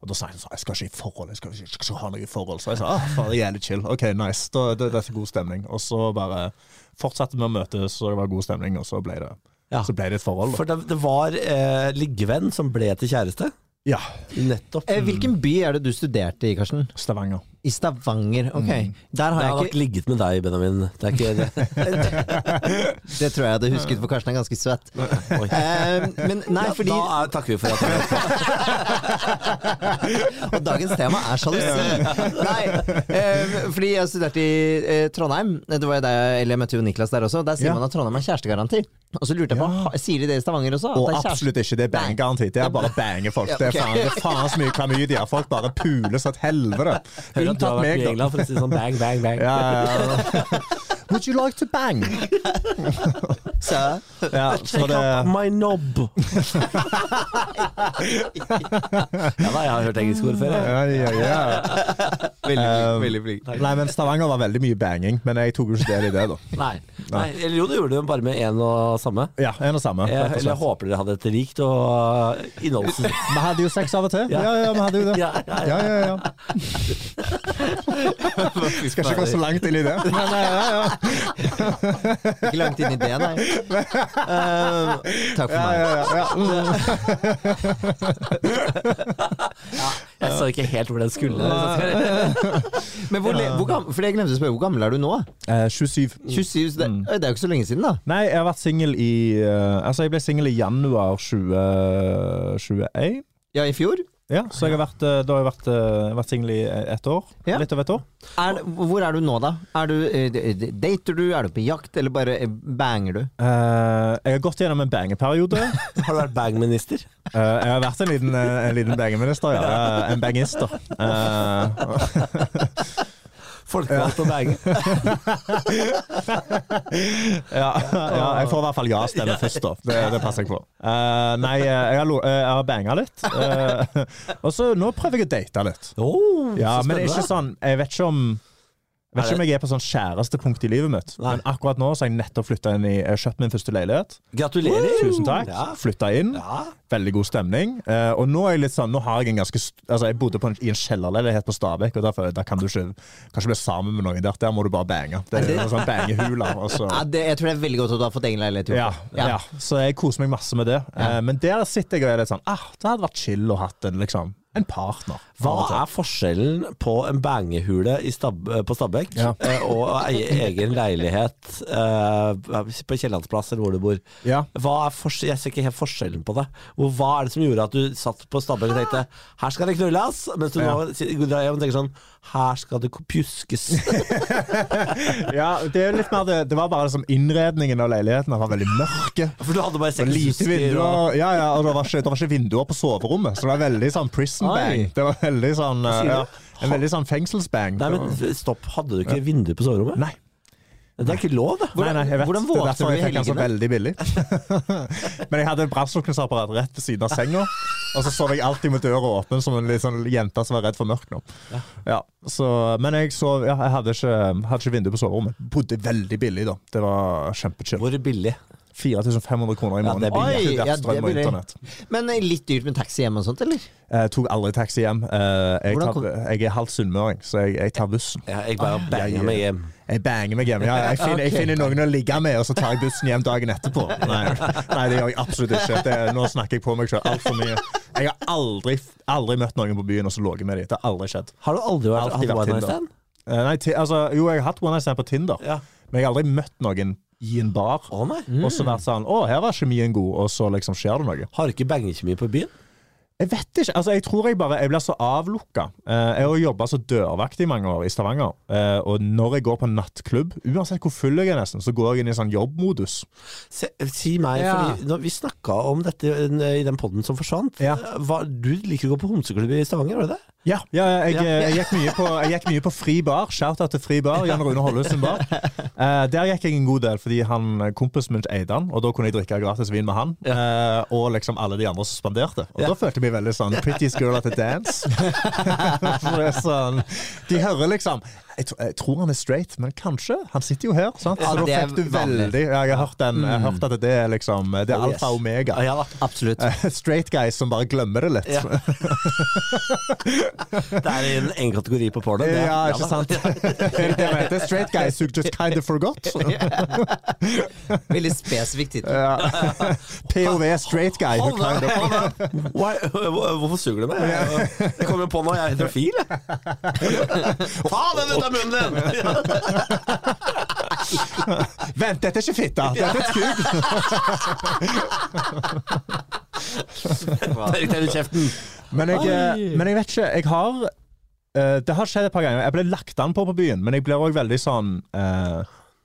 A: Og da sa jeg sånn, jeg skal ikke i forhold, jeg skal ikke, jeg skal ikke ha noe i forhold. Så jeg sa, ah, faen, det er jævlig chill. Ok, nice, da, det, dette er god stemning. Og så bare fortsatte vi å møtes, og det var god stemning, og så ble det,
B: Ja.
A: så ble det et forhold. Da.
B: For det, det var eh, liggevenn som ble til kjæreste.
A: Ja,
B: Nettopp.
C: Eh, Hvilken by er det du studerte i, Karsten?
A: Stavanger.
C: I Stavanger. Ok, der har
B: Jeg
C: jeg
B: har
C: ikke
B: nok ligget med deg, Benjamin. Det er ikke det.
C: Det tror jeg jeg hadde husket, for Karsten er ganske svett. Eh, men nei,
B: Ja,
C: fordi
B: Da er, takker vi for at du er
C: Og dagens tema er sjalusi. Nei, eh, fordi jeg studerte i eh, Trondheim. Det var jo der, eller jeg møtte jo Niklas der også. Der sier
A: Ja.
C: man at Trondheim har kjærestegaranti. Og så lurte jeg på,
A: Ja.
C: ha- sier de det i Stavanger også?
A: Og
C: det er
A: absolutt ikke, det er bang-garanti. Det er bare bange folk. Det er faen, det er faen så mye klamydia. Folk bare pules et helvete.
B: Hører at du har
A: Unntatt
B: vært
A: meg,
B: mye i
A: da.
B: England, for å si det sånn bang, bang, bang.
A: Ja, ja, ja. Would you like to bang?
C: kjæreste-
A: Ja, så
B: Check out
A: det,
B: my knob! ja da, jeg har hørt engelske ord før. Jeg.
A: ja, ja, ja.
C: Veldig
A: Eh,
C: flink. veldig flink.
A: Nei, men Stavanger var veldig mye banging, men jeg tok jo ikke del i det, da.
B: Nei. Nei, eller jo, det gjorde du bare med én og samme.
A: Ja, en og samme.
B: Jeg,
A: rett og
B: eller jeg
A: slett.
B: håper dere hadde et rikt og eh, innholdsrikt
A: Vi hadde jo sex av og til.
B: Ja.
A: Ja, ja, vi hadde jo det.
B: Ja,
A: Ja,
B: ja,
A: ja, ja. Vi skal ikke gå så langt inn i det. Men, ja, ja, ja.
C: Ikke langt inn i det, nei. Eh, takk for
A: Ja,
C: meg.
A: ja, ja, ja.
B: Jeg så ikke helt hvor den skulle.
C: Men hvor, le- hvor gammel, for jeg glemte å spørre, hvor gammel er du nå?
A: Eh, 27.
C: 27, så det,
A: Mm.
C: Oi, det er jo ikke så lenge siden, da.
A: Nei, jeg har vært singel i eh, Altså, jeg ble singel i januar 2021.
C: Ja, i fjor.
A: Ja, så jeg har vært, eh, da har jeg vært, eh, vært singel i ett år.
C: Ja.
A: Litt over et år.
C: Er, det- hvor er du nå, da? Er du, eh, d- d- dater du? Er du på jakt, eller bare eh, banger du?
A: Eh, jeg har gått gjennom en bangeperiode.
B: Har du vært bang-minister?
A: Eh, jeg har vært en liten, eh, en liten bangeminister, ja. Eh, En bangister. Eh,
B: Folkevalgt og bange.
A: ja, ja, jeg får i hvert fall ja-stemme først, da. Det, det passer jeg på. Eh, nei, eh, jeg har, lo- eh, jeg har banga litt. Eh, og så nå prøver jeg å date litt.
B: Oh,
A: Ja,
B: så
A: men det er ikke
B: spennende.
A: sånn Jeg vet ikke om jeg
B: Er
A: vet ikke om jeg er på sånn kjærestepunkt i livet mitt,
B: Nei.
A: men akkurat nå så har jeg nettopp flytta inn i Jeg har kjøpt min første leilighet.
B: Gratulerer.
A: Tusen takk.
B: Ja.
A: Flytta inn.
B: Ja.
A: Veldig god stemning. Eh, og nå er jeg litt sånn Nå har jeg en ganske st- Altså, jeg bodde på en, i en kjellerleilighet på Stabekk, og derfor der kan du ikke Kan ikke bli sammen med noen der. Der må du bare bange. Det er en sånn bangehule. og så-
C: Ja, det, jeg tror det er veldig godt at du har fått egen leilighet. i
A: Ja,
C: Oslo.
A: ja. Så jeg koser meg masse med det. Eh, men der sitter jeg og er litt sånn ah, Det hadde vært chill å hatt en, liksom, en partner.
B: Hva
A: Av og til.
B: er forskjellen på en bangehule i Stab på Stabekk
A: Ja.
B: eh, og å eie egen leilighet eh, på Kiellandsplass eller hvor du bor?
A: Ja.
B: Hva er forskj- jeg ser ikke helt forskjellen på det. Og hva er det som gjorde at du satt på Stabekk og tenkte 'her skal det knulles', mens du nå si- drar hjem og tenker sånn 'her skal det ko- pjuskes'?
A: Ja, det er jo litt mer det, det var bare liksom innredningen av leiligheten. Den var veldig mørke.
B: For du hadde bare
A: Det var lite
B: sexhusker og
A: vinduer, ja, ja, og det var, ikke, det var ikke vinduer på soverommet, så det var veldig sånn prison
C: Oi.
A: bang. Det var veldig sånn, eh,
B: sier du?
A: ja, En veldig sånn fengselsbang.
B: Nei, men stopp. Hadde du ikke vindu på soverommet?
A: Nei.
B: Det er ikke lov, det.
A: Nei, nei, jeg vet.
C: hvordan
A: det er
C: våkner
A: derfor
C: du i
A: jeg fikk den så veldig billig. Men jeg hadde et brannslukningsapparat rett ved siden av senga, og så sov jeg alltid med døra åpen som en litt sånn jente som var redd for mørkt nå. Ja, så, men jeg sov ja, Jeg hadde ikke, hadde ikke vindu på soverommet. Bodde veldig billig, da. Det var kjempechill.
B: Hvor billig?
A: 4500 kroner i
B: Ja, det
A: måneden.
B: er billig.
A: Inkludert
C: Oi, ja, det er
A: strøm og
C: billig.
A: internett.
C: Men eh, litt dyrt med taxi hjem og sånt, eller?
A: Eh, tok aldri taxi hjem. Eh, jeg,
C: Hvordan
A: tar, jeg er halvt sunnmøring, så jeg, jeg tar bussen.
B: Ah, Ja, jeg bare banger meg hjem.
A: Jeg banger meg hjem. Ja, jeg, finner, jeg
C: Ok.
A: finner noen å ligge med, og så tar jeg bussen hjem dagen etterpå. Nei, nei det gjør jeg absolutt ikke. Det, nå snakker jeg på meg sjøl altfor mye. Jeg har aldri, aldri møtt noen på byen og så ligget med dem. Det har aldri skjedd.
B: Har du aldri vært,
A: Alltid
B: hatt
A: vært
B: one night
A: Tinder.
B: stand?
A: Eh, nei, ti, altså, jo, jeg har hatt one night stand på Tinder,
B: Ja.
A: men jeg har aldri møtt noen i en bar.
B: Å nei.
A: Og så vært sånn Å, her var kjemien god, og så liksom skjer det noe.
B: Har du ikke bangekjemi på byen?
A: Jeg vet ikke. altså Jeg tror jeg bare jeg blir så avlukka. Eh, Jeg har jobba som dørvakt i mange år i Stavanger. eh, Og når jeg går på nattklubb, uansett hvor full jeg er, nesten, så går jeg inn i sånn jobbmodus.
B: Se, si meg,
C: Ja.
B: fordi når vi snakka om dette eh, i den podden som forsvant. eh,
A: Ja.
B: Hva, du liker å gå på homseklubb i Stavanger, var det det?
A: Ja, ja jeg,
B: Ja.
A: jeg, gikk mye på, jeg gikk mye på Fri Bar. Shout-out til Fri Bar. Jan Rune Holløs sin bar. Eh, der gikk jeg en god del, fordi han, kompisen min eide han, og da kunne jeg drikke gratis vin med han. eh, og liksom alle de andre som spanderte. Og
B: Ja.
A: da følte jeg meg veldig sånn Prettiest girl at a dance. For det er sånn De hører liksom jeg, tro, jeg tror han er straight, men kanskje? Han sitter jo her. Sant?
C: Ja,
A: Så da
C: det er
A: fikk du
C: vanlig.
A: veldig ja, Jeg har hørt, den, jeg har hørt at det er liksom Det er
B: Mm. Oh, yes.
A: alfa og omega.
B: Ja, da.
C: Absolutt.
A: Straight guys som bare glemmer det litt.
B: Ja. Det er en egen kategori på porno. det er-
A: Ja, ikke
B: da.
A: sant? Er det det man heter? Straight guys who just kind of forgot.
C: Veldig spesifikk tittel.
A: Ja. POV straight guy who
B: Hold
A: kind
B: da,
A: of
B: hold da. Why, eh, hvorfor suger du meg? Jeg, jeg kommer jo på nå, jeg er heterofil. jeg. Faen, den ut av munnen din! Ja.
A: Vent, dette er ikke fitta! Dette er kuk!
B: Tørk deg ut kjeften.
A: Men jeg, eh,
C: Oi.
A: men jeg vet ikke. Jeg har eh, Det har skjedd et par ganger. Jeg ble lagt an på på byen, men jeg blir òg veldig sånn eh,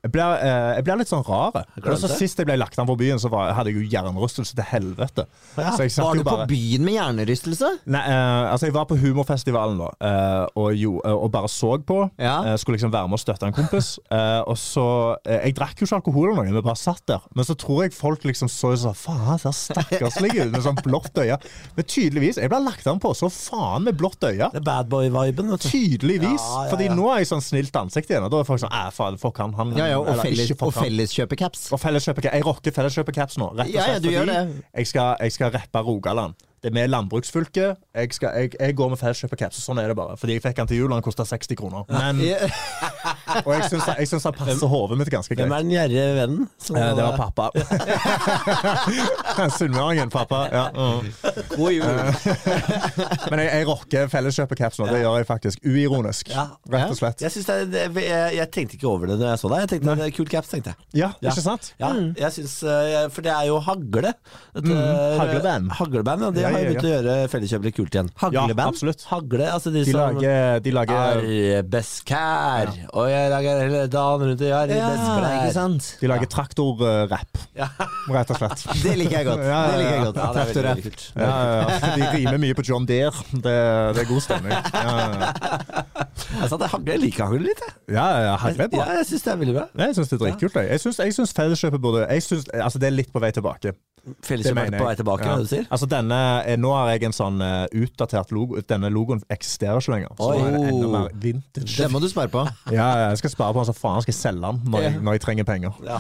A: jeg blir, eh, jeg blir litt sånn rar. Og så Sist jeg ble lagt an på byen, så var, hadde jeg jo hjernerystelse til helvete. Så jeg satt
C: Var
A: jo
C: du på
A: bare
C: byen med hjernerystelse?
A: Nei, eh, altså jeg var på humorfestivalen da, eh, og, jo, eh, og bare så på.
C: Ja.
A: Eh, skulle liksom være med og støtte en kompis. Eh, og så, eh, Jeg drakk jo ikke alkohol eller noe, vi bare satt der. Men så tror jeg folk liksom så sånn Faen, han ser stakkarslig ut med sånn blått øye. Men tydeligvis, jeg ble lagt an på så faen med blått øye.
B: Det er bad boy-viben. vet du.
A: Tydeligvis.
B: Ja, ja,
A: Fordi
B: ja.
A: nå er jeg sånn snilt ansikt igjen. Og da er folk sånn Æ, faen, fuck han. han
C: Ja, ja, og,
A: eller
C: felles,
A: ikke fuck
C: og
A: han.
C: felleskjøpecaps.
A: Og felleskjøper, jeg rocker felleskjøpercaps nå. Rett og slett,
C: Ja, ja, du
A: fordi
C: gjør det.
A: Jeg, skal, jeg skal rappe Rogaland. Det er med landbruksfylke. Jeg, skal, jeg, jeg går med felleskjøpercaps, og sånn er det bare. Fordi jeg fikk den til jul, og den kosta 60 kroner. Men
C: Ja.
A: Og jeg syns, jeg syns han passer hodet mitt ganske
B: Hvem
A: greit.
B: er den gjerrige vennen? som-
A: Eh, Det var pappa. Sunnmøringen, pappa. Ja. mm.
C: God jul.
A: Men jeg, jeg rocker felleskjøpet-caps nå. Det gjør jeg faktisk. Uironisk.
B: Ja.
A: Rett og slett.
B: Jeg, synes det, det, jeg, jeg tenkte ikke over det når jeg så deg. Jeg tenkte det er Kult caps, tenkte jeg.
A: Ja,
B: Ja.
A: ikke sant? Mm.
B: Ja, jeg synes, eh, For det er jo hagle. Dette,
A: hagleband.
B: Hagleband, ja, Det
A: Ja,
B: har
A: ja,
B: jo begynt å gjøre felleskjøpere kult igjen.
A: Ja, absolutt.
B: Hagle, altså de,
A: De
B: som
A: lager, eh, de lager,
B: Arbeskær, og jeg lager hele dagen rundt i arbeskær.
C: ikke sant?
A: de lager traktorrapp,
B: Ja.
A: rett og slett.
C: Det liker jeg godt.
A: Ja, ja,
C: Det liker jeg
A: ja.
C: godt.
B: Ja, det er veldig,
C: Traktorrapp.
B: veldig kult.
A: Ja, ja, ja. De rimer mye på John Deere. Det, det er god stemning. Ja, ja,
B: Altså, det hagle, jeg liker hagle litt, jeg.
A: ja, ja,
B: Jeg-
A: hagle er bra.
B: Ja, jeg syns det er veldig bra.
A: Jeg syns det er dritkult. jeg. Jeg syns- Jeg syns Felleskjøpet burde jeg synes, altså Det er litt på vei tilbake.
B: Felleskjøpere
A: mener
B: på vei
A: jeg.
B: tilbake,
A: Ja.
B: hva du sier.
A: Altså denne, eh, Nå har jeg en sånn eh, utdatert logo. Denne logoen eksisterer ikke lenger. Så
B: Oi.
A: nå er det enda mer vintage.
C: Det må du spare på.
A: Ja, ja, jeg skal spare på den så faen skal jeg selge den når jeg, når jeg trenger penger.
B: Ja.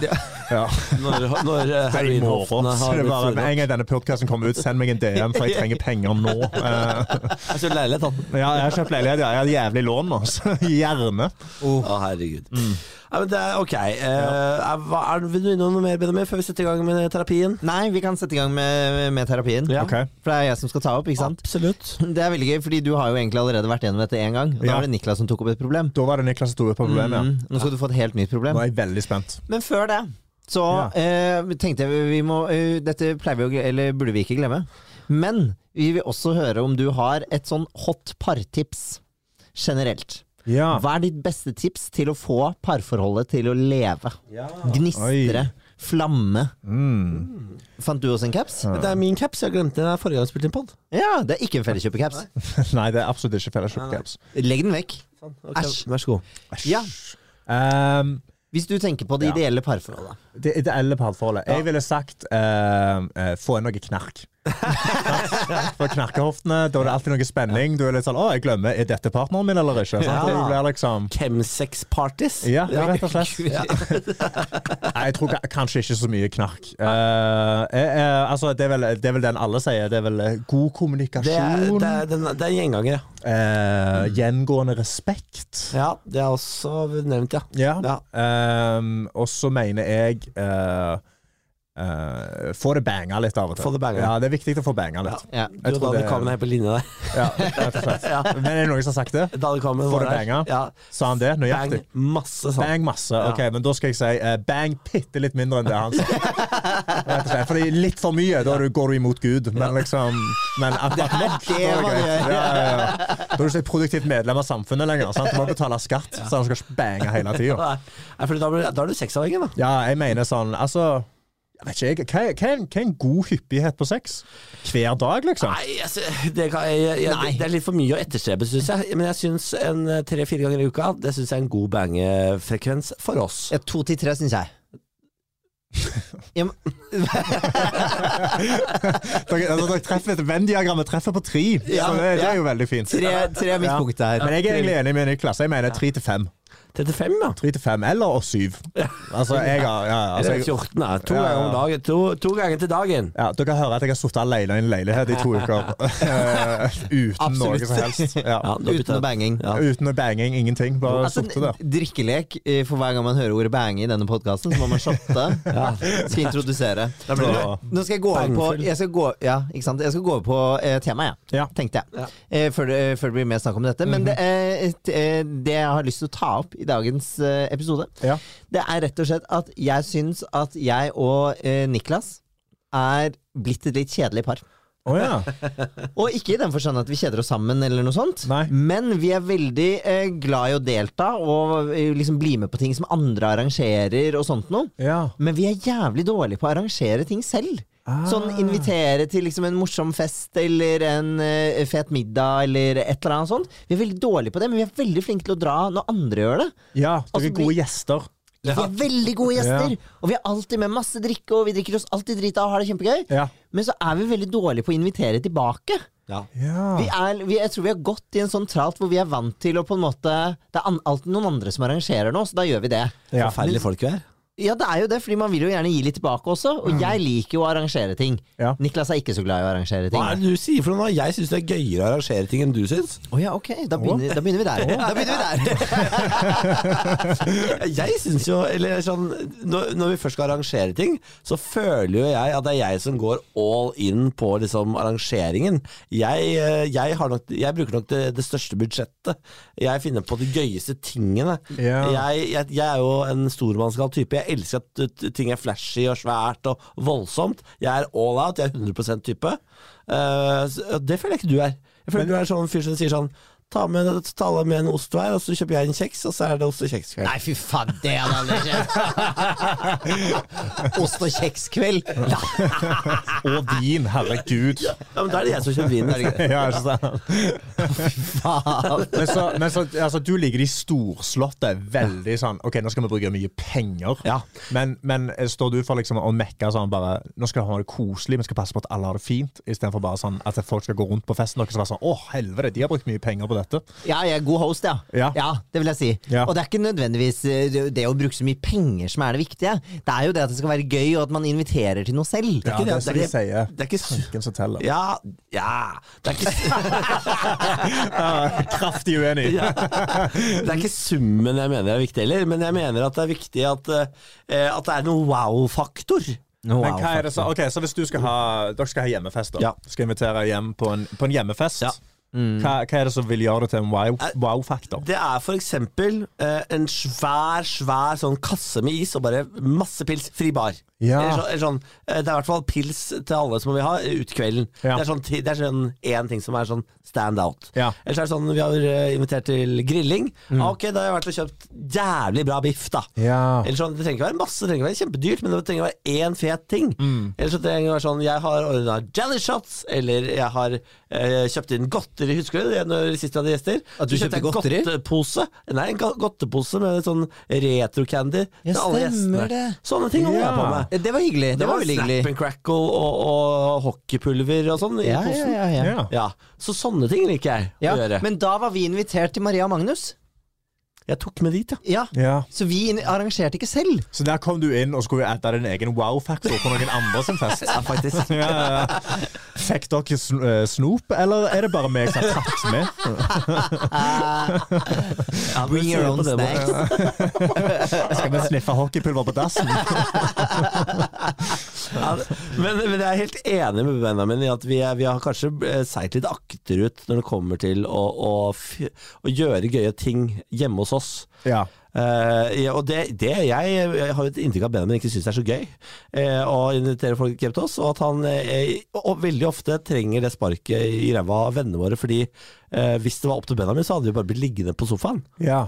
A: Ja.
B: Når, når eh,
A: Det er i morgen.
B: heroinhoftene
A: Så
B: har
A: det er
B: blitt
A: bare, med
B: store.
A: en gang denne podkasten kommer ut, send meg en DM, for jeg trenger penger nå. Eh,
B: Altså, leilighet, da.
A: ja, jeg har kjøpt leilighet, ja. jeg har jævlig lån nå, så gjerne.
B: Å, herregud.
A: Mm.
B: Ja, men det er ok. Eh, er, hva, er, vil du innom noe mer, Benjamin, før vi setter i gang med terapien?
C: Nei, vi kan sette i gang med, med terapien.
B: Ja.
A: Ok.
C: For det er jeg som skal ta opp, ikke sant?
B: Absolutt.
C: Det er veldig gøy, fordi du har jo egentlig allerede vært gjennom dette én gang. Og da
A: Ja.
C: var det Niklas som tok opp et problem.
A: Da var det Niklas som tok opp problemet.
C: Mm,
A: ja.
C: nå skal du få et helt nytt problem.
A: Nå er jeg veldig spent.
C: Men før det så eh, tenkte jeg vi- vi må eh, Dette pleier vi å gle- Eller burde vi ikke glemme. Men vi vil også høre om du har et sånn hot partips generelt.
A: Ja.
C: Hva er ditt beste tips til å få parforholdet til å leve? Gnistre. Flamme.
A: Mm.
C: Fant du også en caps?
B: Det er min caps. Jeg glemte den her forrige gang jeg spilte inn pod.
C: Ja, det er ikke en felleskjøpercaps.
A: Nei, det er absolutt ikke felleskjøpt
B: Nei, nei.
A: caps.
C: Legg den vekk. Æsj.
B: Vær så god.
A: Æsj.
C: Ja.
A: Ehm,
C: Hvis du tenker på det
A: Ja.
C: ideelle parforholdet.
A: det ideelle parforholdet. Jeg ville sagt ehm, eh, få inn noe knark. For knarkehoftene, da er det alltid noe spenning. Du er litt sånn 'Å, jeg glemmer. Er dette partneren min eller ikke?' Sant?
B: Ja.
A: Du blir liksom
B: Chemsex parties.
A: ja, ja, rett og slett.
C: Ja.
A: Nei, jeg tror ka- kanskje ikke så mye knark.
B: Ah.
A: Eh, eh, eh, altså, det, er vel, det er vel den alle sier. Det er vel eh, god kommunikasjon.
B: Det er, det er, den, det er gjengangere.
A: eh, gjengående respekt.
B: Ja, det er også nevnt, ja.
A: Ja.
B: Ja.
A: Ehm, og så mener jeg eh, eh, Få det banga litt av og til.
B: Få det banga.
A: Ja, det er viktig å få banga litt.
C: Ja.
B: Du og
A: tror
B: Daniel
A: det-
B: Kvammen er helt på linje der.
A: Ja, rett og slett.
B: Ja.
A: Men er det noen som har sagt det?
B: Daniel Kvammen
A: Får
B: var
A: du
B: der.
A: banga?
B: Ja.
A: Sa han det
B: Bang
A: nøyaktig?
B: masse sånn.
A: Bang masse. Ok, men da skal jeg si eh, bang bitte litt mindre enn det han sa. Rett og slett. Fordi litt for mye, da er du- går du imot Gud. Men liksom Men akkurat nok, da
C: det
A: er det
C: man
A: greit.
C: gjør.
A: Ja, ja, ja. Da er du ikke et produktivt medlem av samfunnet lenger. Sant? Du må betale skatt, så han skal ikke bange hele tida.
B: Nei, Nei, fordi da, blir, da er du sexavhengig, da.
A: Ja, jeg mener sånn Altså, jeg vet ikke jeg, hva, er- hva, er en- hva er en god hyppighet på sex? Hver dag, liksom?
B: Nei, altså, det, kan, jeg, jeg,
C: Nei.
B: det er litt for mye å etterstrebe, syns jeg. Men jeg syns en eh, tre-fire ganger i uka Det synes jeg er en god bangefrekvens for oss.
C: Ja, to til tre, syns jeg. Ja, men-
A: Dere, altså, dere treffer Venn-diagrammet treffer på tre,
C: Ja,
A: så det, det
C: ja.
A: er jo veldig fint.
C: tre, tre er mitt
A: Ja.
C: punkt der.
A: Men jeg er egentlig enig med Niklas. Jeg mener tre til fem.
B: 35, ja.
A: Tre til fem, eller og syv. Altså, jeg har ja, altså,
B: Eller
A: jeg,
B: 14, da. To
A: Ja, ja, ja.
B: ganger om dagen. To, to ganger til dagen.
A: ja, Dere hører at jeg har sittet alene i en leilighet i to uker eh, uten
C: Absolutt.
A: noe som helst.
B: Ja,
A: Ja.
B: da
C: Uten
B: bytter
C: noe
B: jeg.
C: banging.
B: Ja.
A: Uten noe banging, ingenting. Bare
C: Altså,
A: sittet der.
C: drikkelek eh, for hver gang man hører ordet bange i denne podkasten, så må man shotte. Skal introdusere.
A: blir det-
C: Nå skal jeg gå over på,
B: Bangfull.
C: jeg skal gå, ja, ikke sant? Jeg skal gå over på eh, temaet, jeg.
A: Ja. Mhm.
C: tenkte jeg.
B: Ja.
C: Eh, før, det, før det blir mer snakk om dette. Men det, eh, et, eh, det jeg har lyst til å ta opp i dagens eh, episode,
A: Ja.
C: det er rett og slett at jeg syns at jeg og eh, Niklas er blitt et litt kjedelig par.
A: Å ja.
C: Og ikke i den forstand at vi kjeder oss sammen, eller noe sånt
A: Nei.
C: men vi er veldig eh, glad i å delta og eh, liksom bli med på ting som andre arrangerer. og sånt noe.
A: ja.
C: Men vi er jævlig dårlige på å arrangere ting selv.
A: Ah.
C: Sånn Invitere til liksom en morsom fest eller en eh, fet middag eller et eller annet sånt. Vi er veldig dårlige på det, men vi er veldig flinke til å dra når andre gjør det.
A: ja. Dere
C: Altså,
A: er
C: vi-
A: gode gjester.
C: Vi er veldig gode gjester, og vi er alltid med masse drikke, og vi drikker oss alltid drita og har det kjempegøy.
A: Ja.
C: Men så er vi veldig dårlige på å invitere tilbake.
B: Ja. Ah.
A: Ja.
C: Vi er, vi, jeg tror vi har gått i en sånn tralt hvor vi er vant til å på en måte Det er an, alltid noen andre som arrangerer noe, så da gjør vi det.
A: Ja.
B: Forferdelige folk vi er.
C: Ja, det er jo det, fordi man vil jo gjerne gi litt tilbake også.
B: Mm.
C: Og jeg liker jo å arrangere ting.
A: Ja.
C: Niklas er ikke så glad i å arrangere ting.
B: Hva er det du sier for noe? nå? Jeg syns det er gøyere å arrangere ting enn du syns.
C: Å ja, ok. Da begynner, da begynner vi der. Da begynner vi der.
B: Jeg syns jo Eller sånn når, når vi først skal arrangere ting, så føler jo jeg at det er jeg som går all in på liksom arrangeringen. Jeg, eh, jeg, har nok, jeg bruker nok det, det største budsjettet. Jeg finner på de gøyeste tingene.
A: Ja.
B: Jeg, jeg, jeg er jo en stormannsgal type. Jeg elsker at t- ting er flashy og svært og voldsomt. Jeg er all out. Jeg er 100 type. Eh, så- det føler jeg ikke du er. Jeg føler du er sånn fyr som sier sånn Ta med, ta alle med en ost hver, og så kjøper jeg en kjeks, og så er det ost og kjeks.
C: Nei, fy faen, det hadde aldri skjedd. Ost og kjekskveld. Nei.
A: Og vin, herregud.
B: Ja, men da er det jeg som kjøper vinen.
A: Ja, ikke sant?
C: Faen.
A: Men, så, men så, altså, du liker de storslåtte. Veldig sånn OK, nå skal vi bruke mye penger.
B: Ja.
A: Men, men eh, står du for liksom å mekke sånn bare Nå skal vi ha det koselig, vi skal passe på at alle har det fint, istedenfor bare sånn at folk skal gå rundt på festen og så være sånn Å, helvete, de har brukt mye penger på dette.
C: Ja, jeg er god host, ja.
A: Ja.
C: Det vil jeg si.
A: Ja.
C: Og det er ikke nødvendigvis eh, det- det å bruke så mye penger som er det viktige. Det er jo det at det skal være gøy, og at man inviterer til noe selv.
A: Ja, det er som de sier.
B: Det er ikke su-
A: Tanken som teller.
B: Ja, ja det, er ikke,
A: Ja, kraftig uenig.
B: ja. det er ikke summen jeg mener er viktig heller, men jeg mener at det er viktig at, eh, at det er noen wow-faktor.
A: Men hva er det så, ok, så hvis du skal ha, dere skal ha hjemmefest, da.
B: Ja.
A: Skal invitere hjem på en, på en hjemmefest.
B: Ja.
A: Hva, hva er det som vil gjøre det til en wow-
B: Eh,
A: wow-faktor?
B: Det er for eksempel eh, en svær, svær sånn kasse med is og bare masse pils, fri bar.
A: Ja.
B: Eller, så, eller sånn, eh, det er i hvert fall pils til alle som vil ha eh, ut kvelden.
A: Ja.
B: Det er sånn ti- det er sånn én ting som er sånn stand out.
A: Ja. Mm.
B: Eller så er det sånn, vi har eh, invitert til grilling. Ah, ok, da har jeg vært og kjøpt jævlig bra biff, da.
A: Ja.
B: Eller sånn, Det trenger ikke være masse, det trenger ikke være kjempedyrt, men det trenger å være én fet ting.
A: Mm.
B: Eller så trenger det å være sånn Jeg har ordna jelly shots, eller jeg har eh, kjøpt inn godteri. Husker du det når sist vi hadde gjester?
C: At du
B: Så kjøpte
C: kjøpte godteri?
B: en godtepose. Nei, en go- godtepose med sånn retro-candy
C: Ja,
B: til alle
C: stemmer
B: gjestene.
C: det.
B: Sånne ting holder jeg på
A: Ja.
B: med.
C: Eh, Det var hyggelig. Det,
B: Det
C: var
B: var
C: veldig
B: snap
C: hyggelig.
B: and crackle og, og hockeypulver og sånn i
C: Ja, ja,
B: posen.
C: ja, ja.
A: Ja.
B: Ja, Så sånne ting liker jeg å
C: Ja,
B: gjøre.
C: men da var vi invitert til Maria og Magnus.
B: Jeg tok med dit, ja.
C: Ja,
A: Ja.
C: Så vi in- arrangerte ikke selv.
A: Så der kom du inn og skulle ette din egen wow-faktor på noen andre sin fest.
B: ja faktisk.
A: Ja, ja, ja. Fikk dere sn eh, snop, eller er det bare meg som har tatt med?
B: Ja,
C: Bring
B: vi
C: your
B: ser
C: own
B: på det, bare.
C: snacks.
A: Skal vi sniffe hockeypulver på dassen?
B: Ja, men, men jeg er helt enig med Benjamin i at vi, er, vi har kanskje eh, seilt litt akterut når det kommer til å, å, f- å gjøre gøye ting hjemme hos oss.
A: Ja.
B: Eh, ja, og det, det jeg, jeg har jo et inntrykk av at Benjamin ikke syns det er så gøy eh, å invitere folk hjem til oss, og at han eh, og veldig ofte trenger det sparket i ræva av vennene våre, fordi eh, hvis det var opp til Benjamin, så hadde vi bare blitt liggende på sofaen.
A: ja.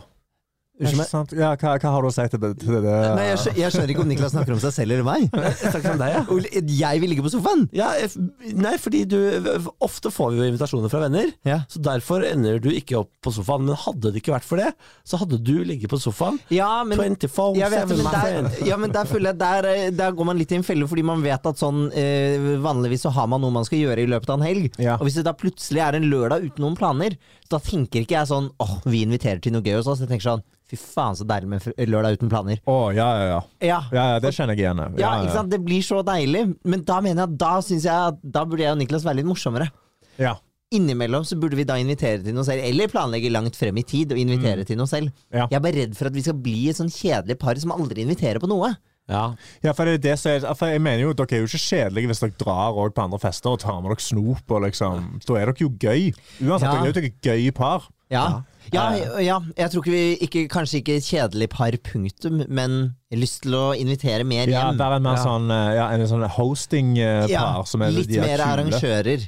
C: Ikke
A: Ikke sant? Ja, hva, hva har du å si til det? Til det?
C: Nei, jeg, skjø jeg skjønner ikke om Niklas snakker om seg selv eller meg.
B: Jeg snakker om deg, ja.
C: Ole, Jeg vil ligge på sofaen!
B: Ja, eh, f- nei, fordi du Ofte får vi jo invitasjoner fra venner,
C: Ja.
B: så derfor ender du ikke opp på sofaen. Men hadde det ikke vært for det, så hadde du ligget på sofaen.
C: Ja, men
B: 24
C: jeg vet, det, men
B: 7
C: der, ja, men der føler jeg der, eh, der går man litt i en felle, fordi man vet at sånn eh, vanligvis så har man noe man skal gjøre i løpet av en helg.
A: Ja.
C: Og hvis det da plutselig er en lørdag uten noen planer, så da tenker ikke jeg sånn åh, vi inviterer til noe gøy hos oss. Jeg tenker sånn fy faen så deilig med en fr- lørdag uten planer.
A: Å, ja, ja, ja.
C: Ja.
A: Ja, ja, det kjenner jeg igjen. ja.
C: Ja,
A: Ja,
C: ikke sant? Det blir så deilig, men da mener jeg at da synes jeg at da burde jeg og Niklas være litt morsommere.
A: Ja.
C: Innimellom så burde vi da invitere til noe selv, eller planlegge langt frem i tid og invitere til noe selv.
A: Mm. Ja.
C: Jeg er bare redd for at vi skal bli et sånn kjedelig par som aldri inviterer på noe.
B: Ja.
A: Ja, for, det er det som er, for jeg mener jo, Dere er jo ikke kjedelige hvis dere drar også på andre fester og tar med dere snop. og liksom, Da er dere jo gøy. Uansett,
C: Ja.
A: dere er jo et gøy par.
C: Ja. Ja, ja, jeg tror ikke vi ikke, Kanskje ikke kjedelig par, punktum, men lyst til å invitere mer
A: Ja,
C: hjem.
A: Være en mer sånn, eh, ja, en sånn hosting-par.
C: Ja,
A: som er
C: litt
A: de er
C: mer
A: kule.
C: arrangører.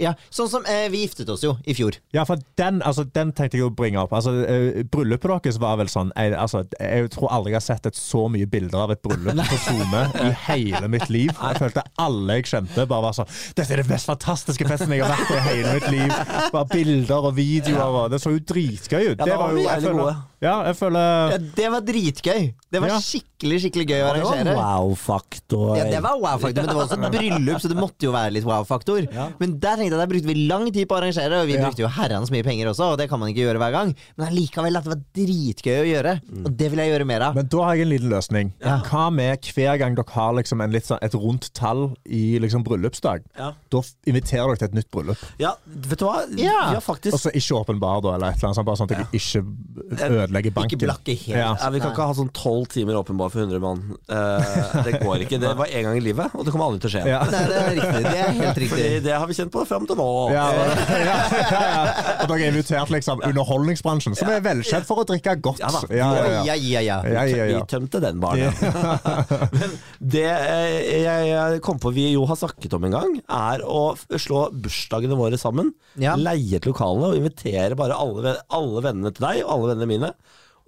A: Ja.
C: Sånn som eh, vi giftet oss jo i fjor.
A: Ja, for den, altså, den tenkte jeg å bringe opp. Altså, eh, bryllupet deres var vel sånn jeg, altså, jeg tror aldri jeg har sett et så mye bilder av et bryllup på SoMe i hele mitt liv. Jeg følte alle jeg kjente, bare var sånn Dette er det mest fantastiske festen jeg har vært på i hele mitt liv. Bare bilder og videoer. Og, det så jo dritgøy ut.
B: ja,
A: det
B: da var
A: jo,
B: vi
A: jeg
B: jævlig
A: føler-
B: gode.
A: Ja, jeg føler
C: Ja, det var dritgøy! Det var
A: Ja.
C: skikkelig skikkelig gøy å
B: Det var
C: arrangere.
B: wow-faktor.
C: Ja, det var wow-faktor, men det var også et bryllup, så det måtte jo være litt wow-faktor.
B: Ja.
C: Men der tenkte jeg der brukte vi lang tid på å arrangere, og vi
B: Ja.
C: brukte jo herrens mye penger også, og det kan man ikke gjøre hver gang. Men allikevel, at det var dritgøy å gjøre, og det vil jeg gjøre mer av.
A: Mm. Men da har jeg en liten løsning. Hva med hver gang dere har liksom en litt sånn, et rundt tall i liksom bryllupsdag?
B: Ja.
A: Da f- inviterer dere til et nytt bryllup.
B: Ja, vet du hva?
C: Ja.
B: Vi har faktisk
A: Og så ikke åpen bar, da, eller et eller annet sånt. Bare sånn at jeg ikke ødelegger banken.
C: Ikke blakke helt.
A: Ja.
B: ja, Vi kan ikke ha sånn tolv timer åpenbar for 100 mann. Eh, det går ikke. Det var én gang i livet, og det kommer aldri til å skje.
A: Ja.
C: Nei, det er riktig. Det er helt riktig.
B: Fordi det har vi kjent på fram til nå.
A: Ja, ja, ja, ja. Og dere er invitert liksom underholdningsbransjen, som er velkjent for å drikke godt.
B: Ja da.
A: Ja, ja, ja.
C: Ja, ja, ja.
A: Ja, ja, ja.
B: Vi tømte den baren. Men det eh, jeg kom på vi jo har snakket om en gang, er å f- slå bursdagene våre sammen.
C: Ja.
B: Leie et lokale og invitere bare alle, ven- alle vennene til deg og alle vennene mine.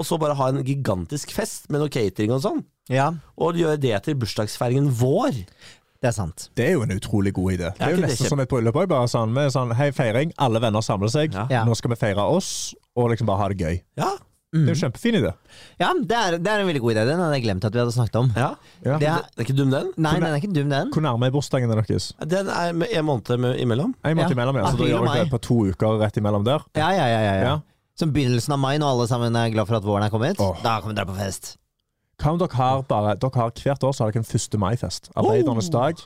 B: Og så bare ha en gigantisk fest med noe catering og sånn.
C: Ja,
B: Og gjøre det til bursdagsfeiringen vår.
C: det er sant.
A: Det er jo en utrolig god idé. Det
B: ikke
A: er jo
B: det
A: nesten
B: kjempe-
A: som et bryllup òg. Bare sånn, med sånn hei, feiring, alle venner samler seg,
B: Ja.
A: nå skal vi feire oss, og liksom bare ha det gøy.
B: Ja.
A: Det
B: Mm.
A: er jo en kjempefin idé.
C: Ja, det er, det er en veldig god idé. Den hadde jeg glemt at vi hadde snakket om.
B: ja.
A: Ja.
C: Det er,
B: Det er ikke dum, den.
C: nei, den er ikke dum, den.
A: Hvor nærme er bursdagen deres?
B: Den er med en måned med, imellom.
A: En måned
C: Ja.
A: imellom, ja. Så
C: April
A: da
C: og
A: gjør dere
C: mai.
A: det på to uker rett imellom der.
C: Ja, ja, ja, ja, ja.
A: Ja.
C: Som begynnelsen av mai, når alle sammen er glad for at våren er kommet.
A: Åh.
C: Da kan vi dra på fest.
A: Hva om dere har bare Dere har Hvert år så har dere en 1. mai-fest. Arbeidernes dag.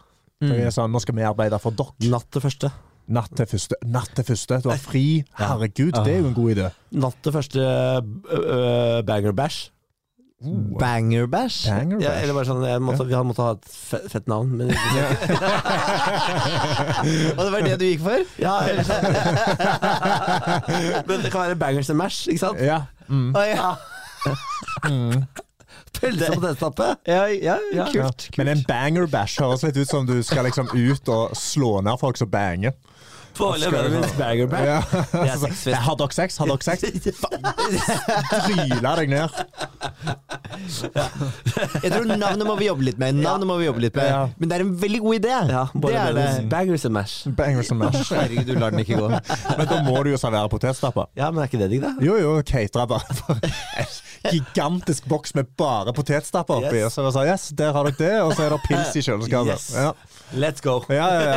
A: Dere er sånn, nå skal vi arbeide for dere.
B: Natt til første.
A: Natt til første. Natt til første. Du har fri. Herregud, det er jo en god idé.
B: Natt til første ø, ø, banger bash.
C: Banger bash.
A: Banger
B: Ja,
A: Bash.
B: eller bare sånn, jeg måtte, Vi hadde måttet ha et fe- fett navn. Men,
C: Og det var det du gikk for?
B: ja, eller sånn. men det kan være bangers and mash, ikke sant?
A: Ja. Mm.
C: Å, ja.
B: Pølse på testetappe.
C: Ja, ja, kult.
A: Ja.
C: kult.
A: Men en banger bash høres litt ut som du skal liksom ut og slå ned folk som banger.
B: Farlig venn min banger bash.
A: Ja.
B: Det er sexfest.
A: Har dere sex? Har dere sex? Tryla deg ned.
C: Jeg tror navnet må vi jobbe litt med. Navnet må vi jobbe litt med
A: Ja.
C: Men det er en veldig god idé!
B: Ja,
C: det
B: bare
C: er det.
B: venn. Bangers and mash.
A: Bangers and mash.
C: Herregud, du lar den ikke gå.
A: Men da må du jo servere potetstapper.
B: Ja, men er ikke det digg, da?
A: Jo, jo, catera bare for en gigantisk boks med bare potetstapper oppi.
B: Yes.
A: Og så er det sånn, yes, der har dere det, og så er det pils i kjøleskapet.
B: Yes.
A: Ja.
B: Let's go.
A: ja, ja, ja.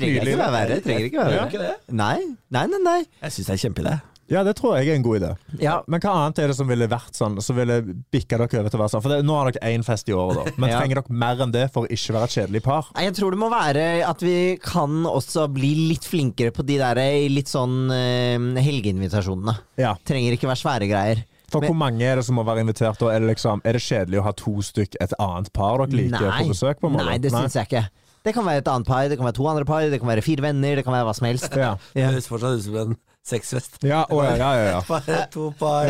C: Trenger
A: nydelig.
C: ikke være verre. Trenger ikke være
B: Gjør ikke
C: verre.
B: det?
C: Nei, nei, nei. nei.
B: Jeg syns det er en kjempeidé.
A: Ja, det tror jeg er en god idé.
C: Ja.
A: Men hva annet er det som ville vært sånn, som ville bikka dere over til å være sånn? For det, nå har dere én fest i året, da. Men
C: Ja.
A: trenger dere mer enn det for å ikke være et kjedelig par?
C: Nei, Jeg tror det må være at vi kan også bli litt flinkere på de der eh, litt sånn eh, helgeinvitasjonene.
A: Ja.
C: Trenger ikke være svære greier.
A: For
C: Men-
A: hvor mange er det som må være invitert, og er det, liksom, er det kjedelig å ha to stykk et annet par dere liker på besøk? på en måte?
C: nei det syns jeg ikke. Det kan være et annet par, det kan være to andre par, det kan være fire venner, det kan være hva som helst.
A: Ja.
B: Det høres fortsatt ut som en sexfest.
A: Ja, å, ja, ja, ja, ja.
B: Bare to par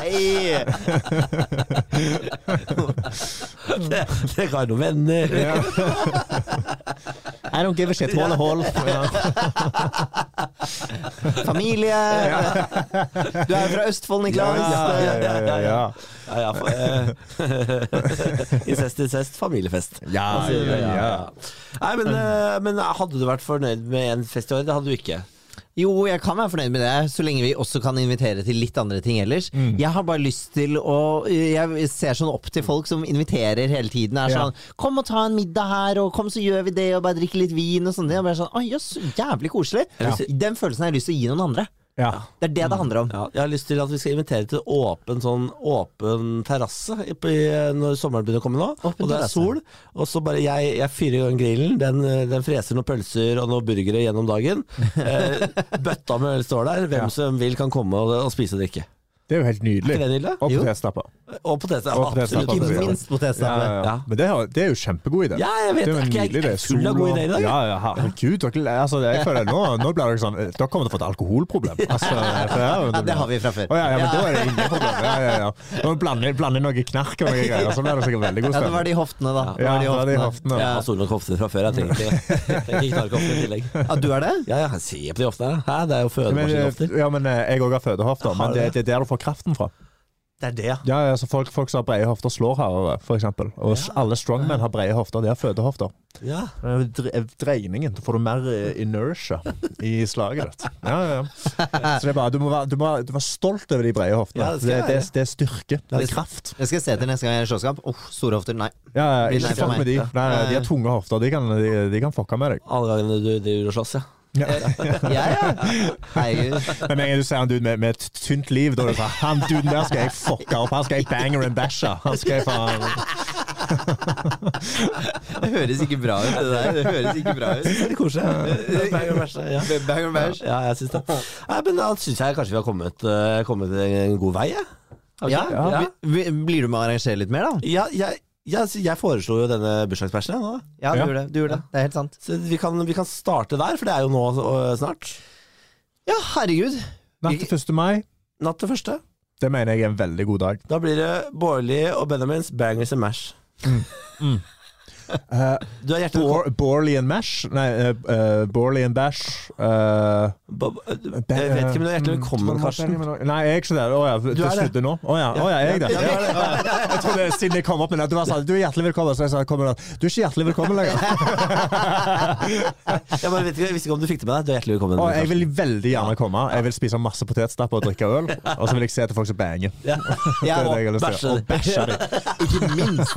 C: Nei.
B: Det, det kan være noen venner.
A: I don't give a shit, hole hole. Ja.
C: Familie Du er jo fra Østfold, Niklas.
A: Ja, ja, ja, ja, ja.
B: Ja, ja, for, eh, incest, incest, familiefest.
A: Ja,
B: Altså,
A: ja, ja.
B: Nei, men, eh, men hadde du vært fornøyd med en fest i år? Det hadde du ikke.
C: Jo, jeg kan være fornøyd med det, så lenge vi også kan invitere til litt andre ting ellers.
A: Mm.
C: Jeg har bare lyst til å Jeg ser sånn opp til folk som inviterer hele tiden. Er
A: Ja.
C: sånn 'Kom og ta en middag her, og kom, så gjør vi det', og bare drikke litt vin og sånn. Jeg bare sånn 'Å, jøss, jævlig koselig'.
B: Ja.
C: Den følelsen har jeg lyst til å gi noen andre.
A: ja.
C: Det er det
A: Mm.
C: det handler om.
B: Ja, jeg har lyst til at vi skal invitere til åpen, sånn, åpen terrasse i- i- når sommeren begynner å komme nå.
C: Åpen
B: og det er
C: terrasse.
B: sol. Og så bare jeg, jeg fyrer i gang grillen. Den, eh, den freser noen pølser og noen burgere gjennom dagen. Eh, bøtta med øl står der. Hvem
A: Ja.
B: som vil kan komme og, og spise og drikke.
A: Det er jo helt nydelig.
B: Er ikke det nydelig?
A: Og
C: Jo.
A: potetstapper.
B: Og poteter.
A: Og poteter,
B: Absolutt.
A: absolutt.
C: Ikke
B: poteter.
C: minst
A: Ja,
C: potetstappe.
A: ja, ja.
B: Ja.
A: Men det er, jo- det er jo kjempegod idé.
B: Ja, jeg vet
A: det er jo
B: det.
A: en
B: Er ikke jeg-
A: nydelig idé.
B: full av
A: Sol
B: gode
A: og-
B: ideer i dag?
A: Ja, ja, herregud. Dere, altså, jeg føler, nå, nå blir dere sånn Dere kommer til å få et alkoholproblem. Altså, for det, er jo-
C: Ja, det har vi fra før.
A: Å ja, ja, men da er det ingen problem. Ja, ja, ja. Nå blander blander noe knark og noe greier, så blir det sikkert veldig god
C: Ja, det var
A: stemning.
C: de hoftene, da. Det
A: Ja,
C: var de
A: det var de
C: hoftene.
A: hoftene.
B: Jeg har solnok hofter fra før. Jeg trenger ikke, trenger ikke knarkhofter i tillegg.
C: Ja, du er det?
B: Ja, ja, se på de hoftene. her. Hæ, det er jo
A: Men,
B: fødemaskinhofter.
A: eh, ja, men eh, jeg òg har fødehofter,
B: Har
A: men
B: du
A: det, det er der du får kraften fra.
B: Det er det, ja.
A: Ja, altså folk, folk som har brede hofter, slår hardere, for eksempel. Og s-
B: Ja.
A: alle strongmen har brede hofter. De har fødehofter.
B: ja.
A: Eh, dre- Dreiningen. Da får du mer eh, inertia i slaget ditt. Ja, ja, ja. Så det er bare, du må, være, du må være- du må være stolt over de brede hoftene.
B: Ja, det
A: det,
B: skal
A: det,
B: jeg
A: er- det er styrke. Det er
C: Det-
A: kraft.
C: Jeg skal se til neste gang jeg er i slåsskamp. Åh, store hofter, nei.
A: Ja, ja,
C: Vil
A: ikke
C: jeg
A: fuck
C: meg.
A: med de.
C: Ja.
A: Nei, nei, de har tunge hofter. De kan, de, de kan fucke med deg.
B: Alle gangene du driver og slåss, ja.
A: Ja.
C: Ja, ja. Herregud.
A: Men med en gang du ser han dude med, med et tynt liv, da er det sånn Han duden der skal jeg fucke opp. Han skal jeg banger and bashe. Han skal jeg faen
C: Det høres ikke bra ut, det der. Det høres ikke bra ut.
B: Det er litt koselig. Bang og bæsj, ja.
C: Bang and bash.
B: Ja, jeg syns det. Nei, men da syns jeg kanskje vi har kommet, eh, kommet en god vei, jeg. Har vi
C: Ja,
B: ikke?
C: ja. Vi- Blir du med å arrangere litt mer, da?
B: Ja, jeg, jeg, jeg foreslo jo denne bursdagsbæsjen, jeg nå.
C: Ja, du
A: Ja.
C: gjorde det. Du gjorde det. Det er helt sant.
B: Så vi kan, vi kan starte der, for det er jo nå eh, snart.
C: Ja, herregud.
A: Natt til 1. mai.
B: Natt til første.
A: Det mener jeg er en veldig god dag.
B: Da blir det Bårli og Benjamins Bangers and Mash.
A: Eh,
B: Du er hjertelig
A: Bor Borley and Mash? Nei, eh, eh, Borley and Bash. eh,
B: velkommen. Jeg vet ikke, men du er hjertelig
A: Mm,
B: velkommen,
A: Trond
B: Karsten.
A: Martin, men- Nei, jeg er ikke det. Å ja, du
B: er det.
A: sluttet nå? Å ja, å, ja jeg er det.
B: Ja, du er det.
A: Ja, ja. Jeg trodde siden jeg kom opp med det, du var sånn Du er hjertelig velkommen. Så jeg sa kommer det. Du er ikke hjertelig velkommen lenger.
B: Jeg bare vet ikke, jeg visste ikke om du fikk det med deg. Du er hjertelig velkommen.
A: Og jeg
B: Karsten.
A: vil veldig gjerne komme. Jeg vil spise masse potetstapp og drikke øl. Og så vil jeg se til folk som banger.
B: Ja.
A: Det er
B: og
A: det jeg har lyst
B: bæsje
A: til. Og bæsje de.
C: Ikke minst.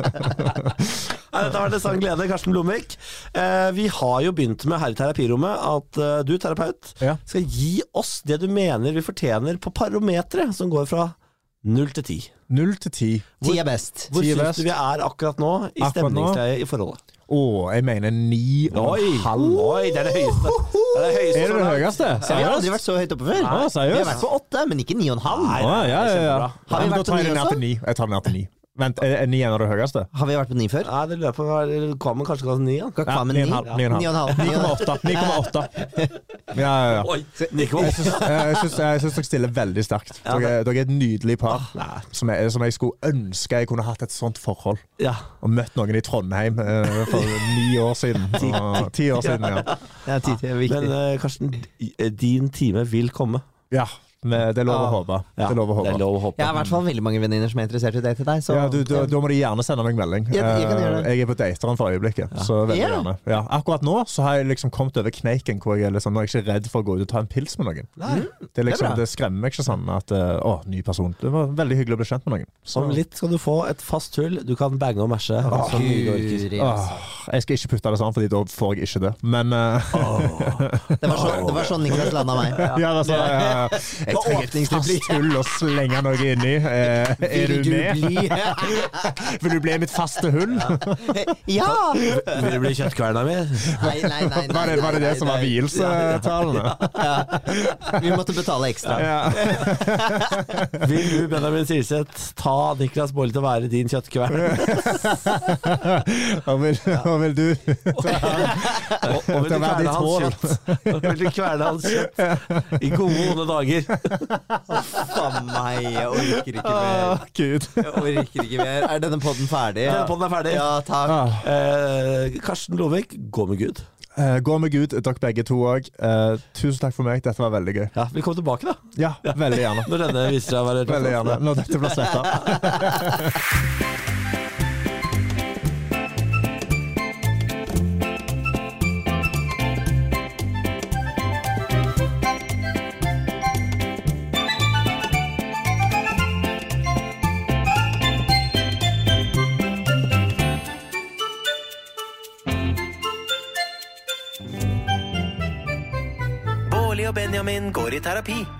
B: Nei, Dette har vært en sann glede, Karsten Blomvik. Eh, vi har jo begynt med her i terapirommet at eh, du, terapeut,
A: Ja.
B: skal gi oss det du mener vi fortjener på parometeret, som går fra null til ti.
A: Null til ti.
C: Ti er best.
B: Hvor
A: Ti er
B: syns
A: best.
B: du vi er akkurat nå i
A: Akkurat nå?
B: stemningsleiet i forholdet?
A: Å, jeg mener ni og
B: Oi!
A: en halv.
B: Oi, det er det høyeste. Det er det høyeste
A: Er det
B: så
A: det
B: langt.
A: høyeste?
C: Ja, Vi har aldri vært så høyt oppe før.
A: Nei, seriøst?
C: Vi har vært på åtte, men ikke ni og en halv.
B: Nei,
A: Å, ja, ja, ja.
B: Kjempebra.
A: Ja,
C: Har vi
A: men Da
C: vært på
A: tar jeg
C: ni
A: det ned
C: også?
A: til ni. Jeg tar det ned til ni. Vent, er er ni en av det høyeste?
C: Har vi vært på ni før?
B: Nei, det løpet var Kommer kanskje ganske ni, ja.
C: Skal ikke
A: Ja,
C: faen med
A: ni
C: ni.
A: og en halv, ni og en halv.
C: Ni og en halv. Ni og en halv.
A: 9,8. 9,8. Ja, ja, ja.
B: Oi, Nico.
A: Jeg syns- Jeg syns- jeg syns dere stiller veldig sterkt. Dere, er- dere er et nydelig par
B: Nei.
A: som, jeg, som jeg skulle ønske jeg kunne hatt et sånt forhold.
B: Ja.
A: Og møtt noen i Trondheim eh, for ni år siden. Og, ti år siden, ja.
C: Ja, ti til er viktig.
B: Men eh, Karsten, di- eh, din time vil komme.
A: ja men det er lov å håpe.
B: Ja,
A: Det er lov å
B: Det
A: håpe.
B: er lov å håpe.
C: Jeg har i hvert fall veldig mange venninner som er interessert i det til deg, så
A: Ja, du, du, da må de gjerne sende meg melding.
C: Ja, jeg kan gjøre det.
A: Eh, jeg er på dateren for øyeblikket. Så veldig
C: Ja.
A: gjerne ja. Akkurat nå så har jeg liksom kommet over kneiken hvor jeg er, liksom, nå er jeg ikke redd for å gå ut og ta en pils med noen.
B: Nei.
A: Det, er liksom,
C: Mm, bra.
A: det, skremmer meg ikke sånn at eh, Å, ny person. Det var veldig hyggelig å bli kjent med noen. Så-
B: Om litt skal du få et fast hull du kan bange og mashe.
A: Ah,
B: som du orker.
C: Guri, altså.
A: Åh, jeg skal ikke putte det sammen, Fordi da får jeg ikke det. Men eh,
C: Det var sånn, det var sånn Niklas landa meg.
A: ja, altså, ja, ja. Jeg
C: var
A: trenger et
C: åpningsreplikk.
A: fast hull å slenge noe inni. Eh, er du med?
C: bli
A: Vil du bli mitt faste hull?
C: Ja!
B: Vil du bli kjøttkverna mi?
C: Nei, nei, nei. nei,
A: Var det, var det det
C: nei,
A: som var
C: nei.
A: vielsetalene?
C: Vi måtte betale ekstra.
A: Ja.
B: Vil du, Benjamin Silseth, ta Niklas Baarli til å være din kjøttkvern?
A: Og, vil, og vil du
B: Og, og vil du
A: Til å være
B: kverne
A: ditt
B: hans
A: hål.
B: kjøtt? Og vil du kverne hans kjøtt i gode, onde dager?
C: Faen meg, jeg orker ikke
A: Å,
C: mer.
A: Gud.
C: Jeg orker ikke mer. Er denne podden ferdig?
B: Denne podden er ferdig.
C: Ja, takk.
A: Ah.
B: Eh, Karsten Lovik, gå med Gud.
A: Eh, Gå med Gud, dere begge to òg. Tusen takk for meg, dette var veldig gøy.
B: Ja, Velkommen tilbake, da.
A: Ja, veldig gjerne.
B: Når denne viser seg å være
A: Veldig gjerne. Når dette blir sletta.
D: Bårli og Benjamin går i terapi.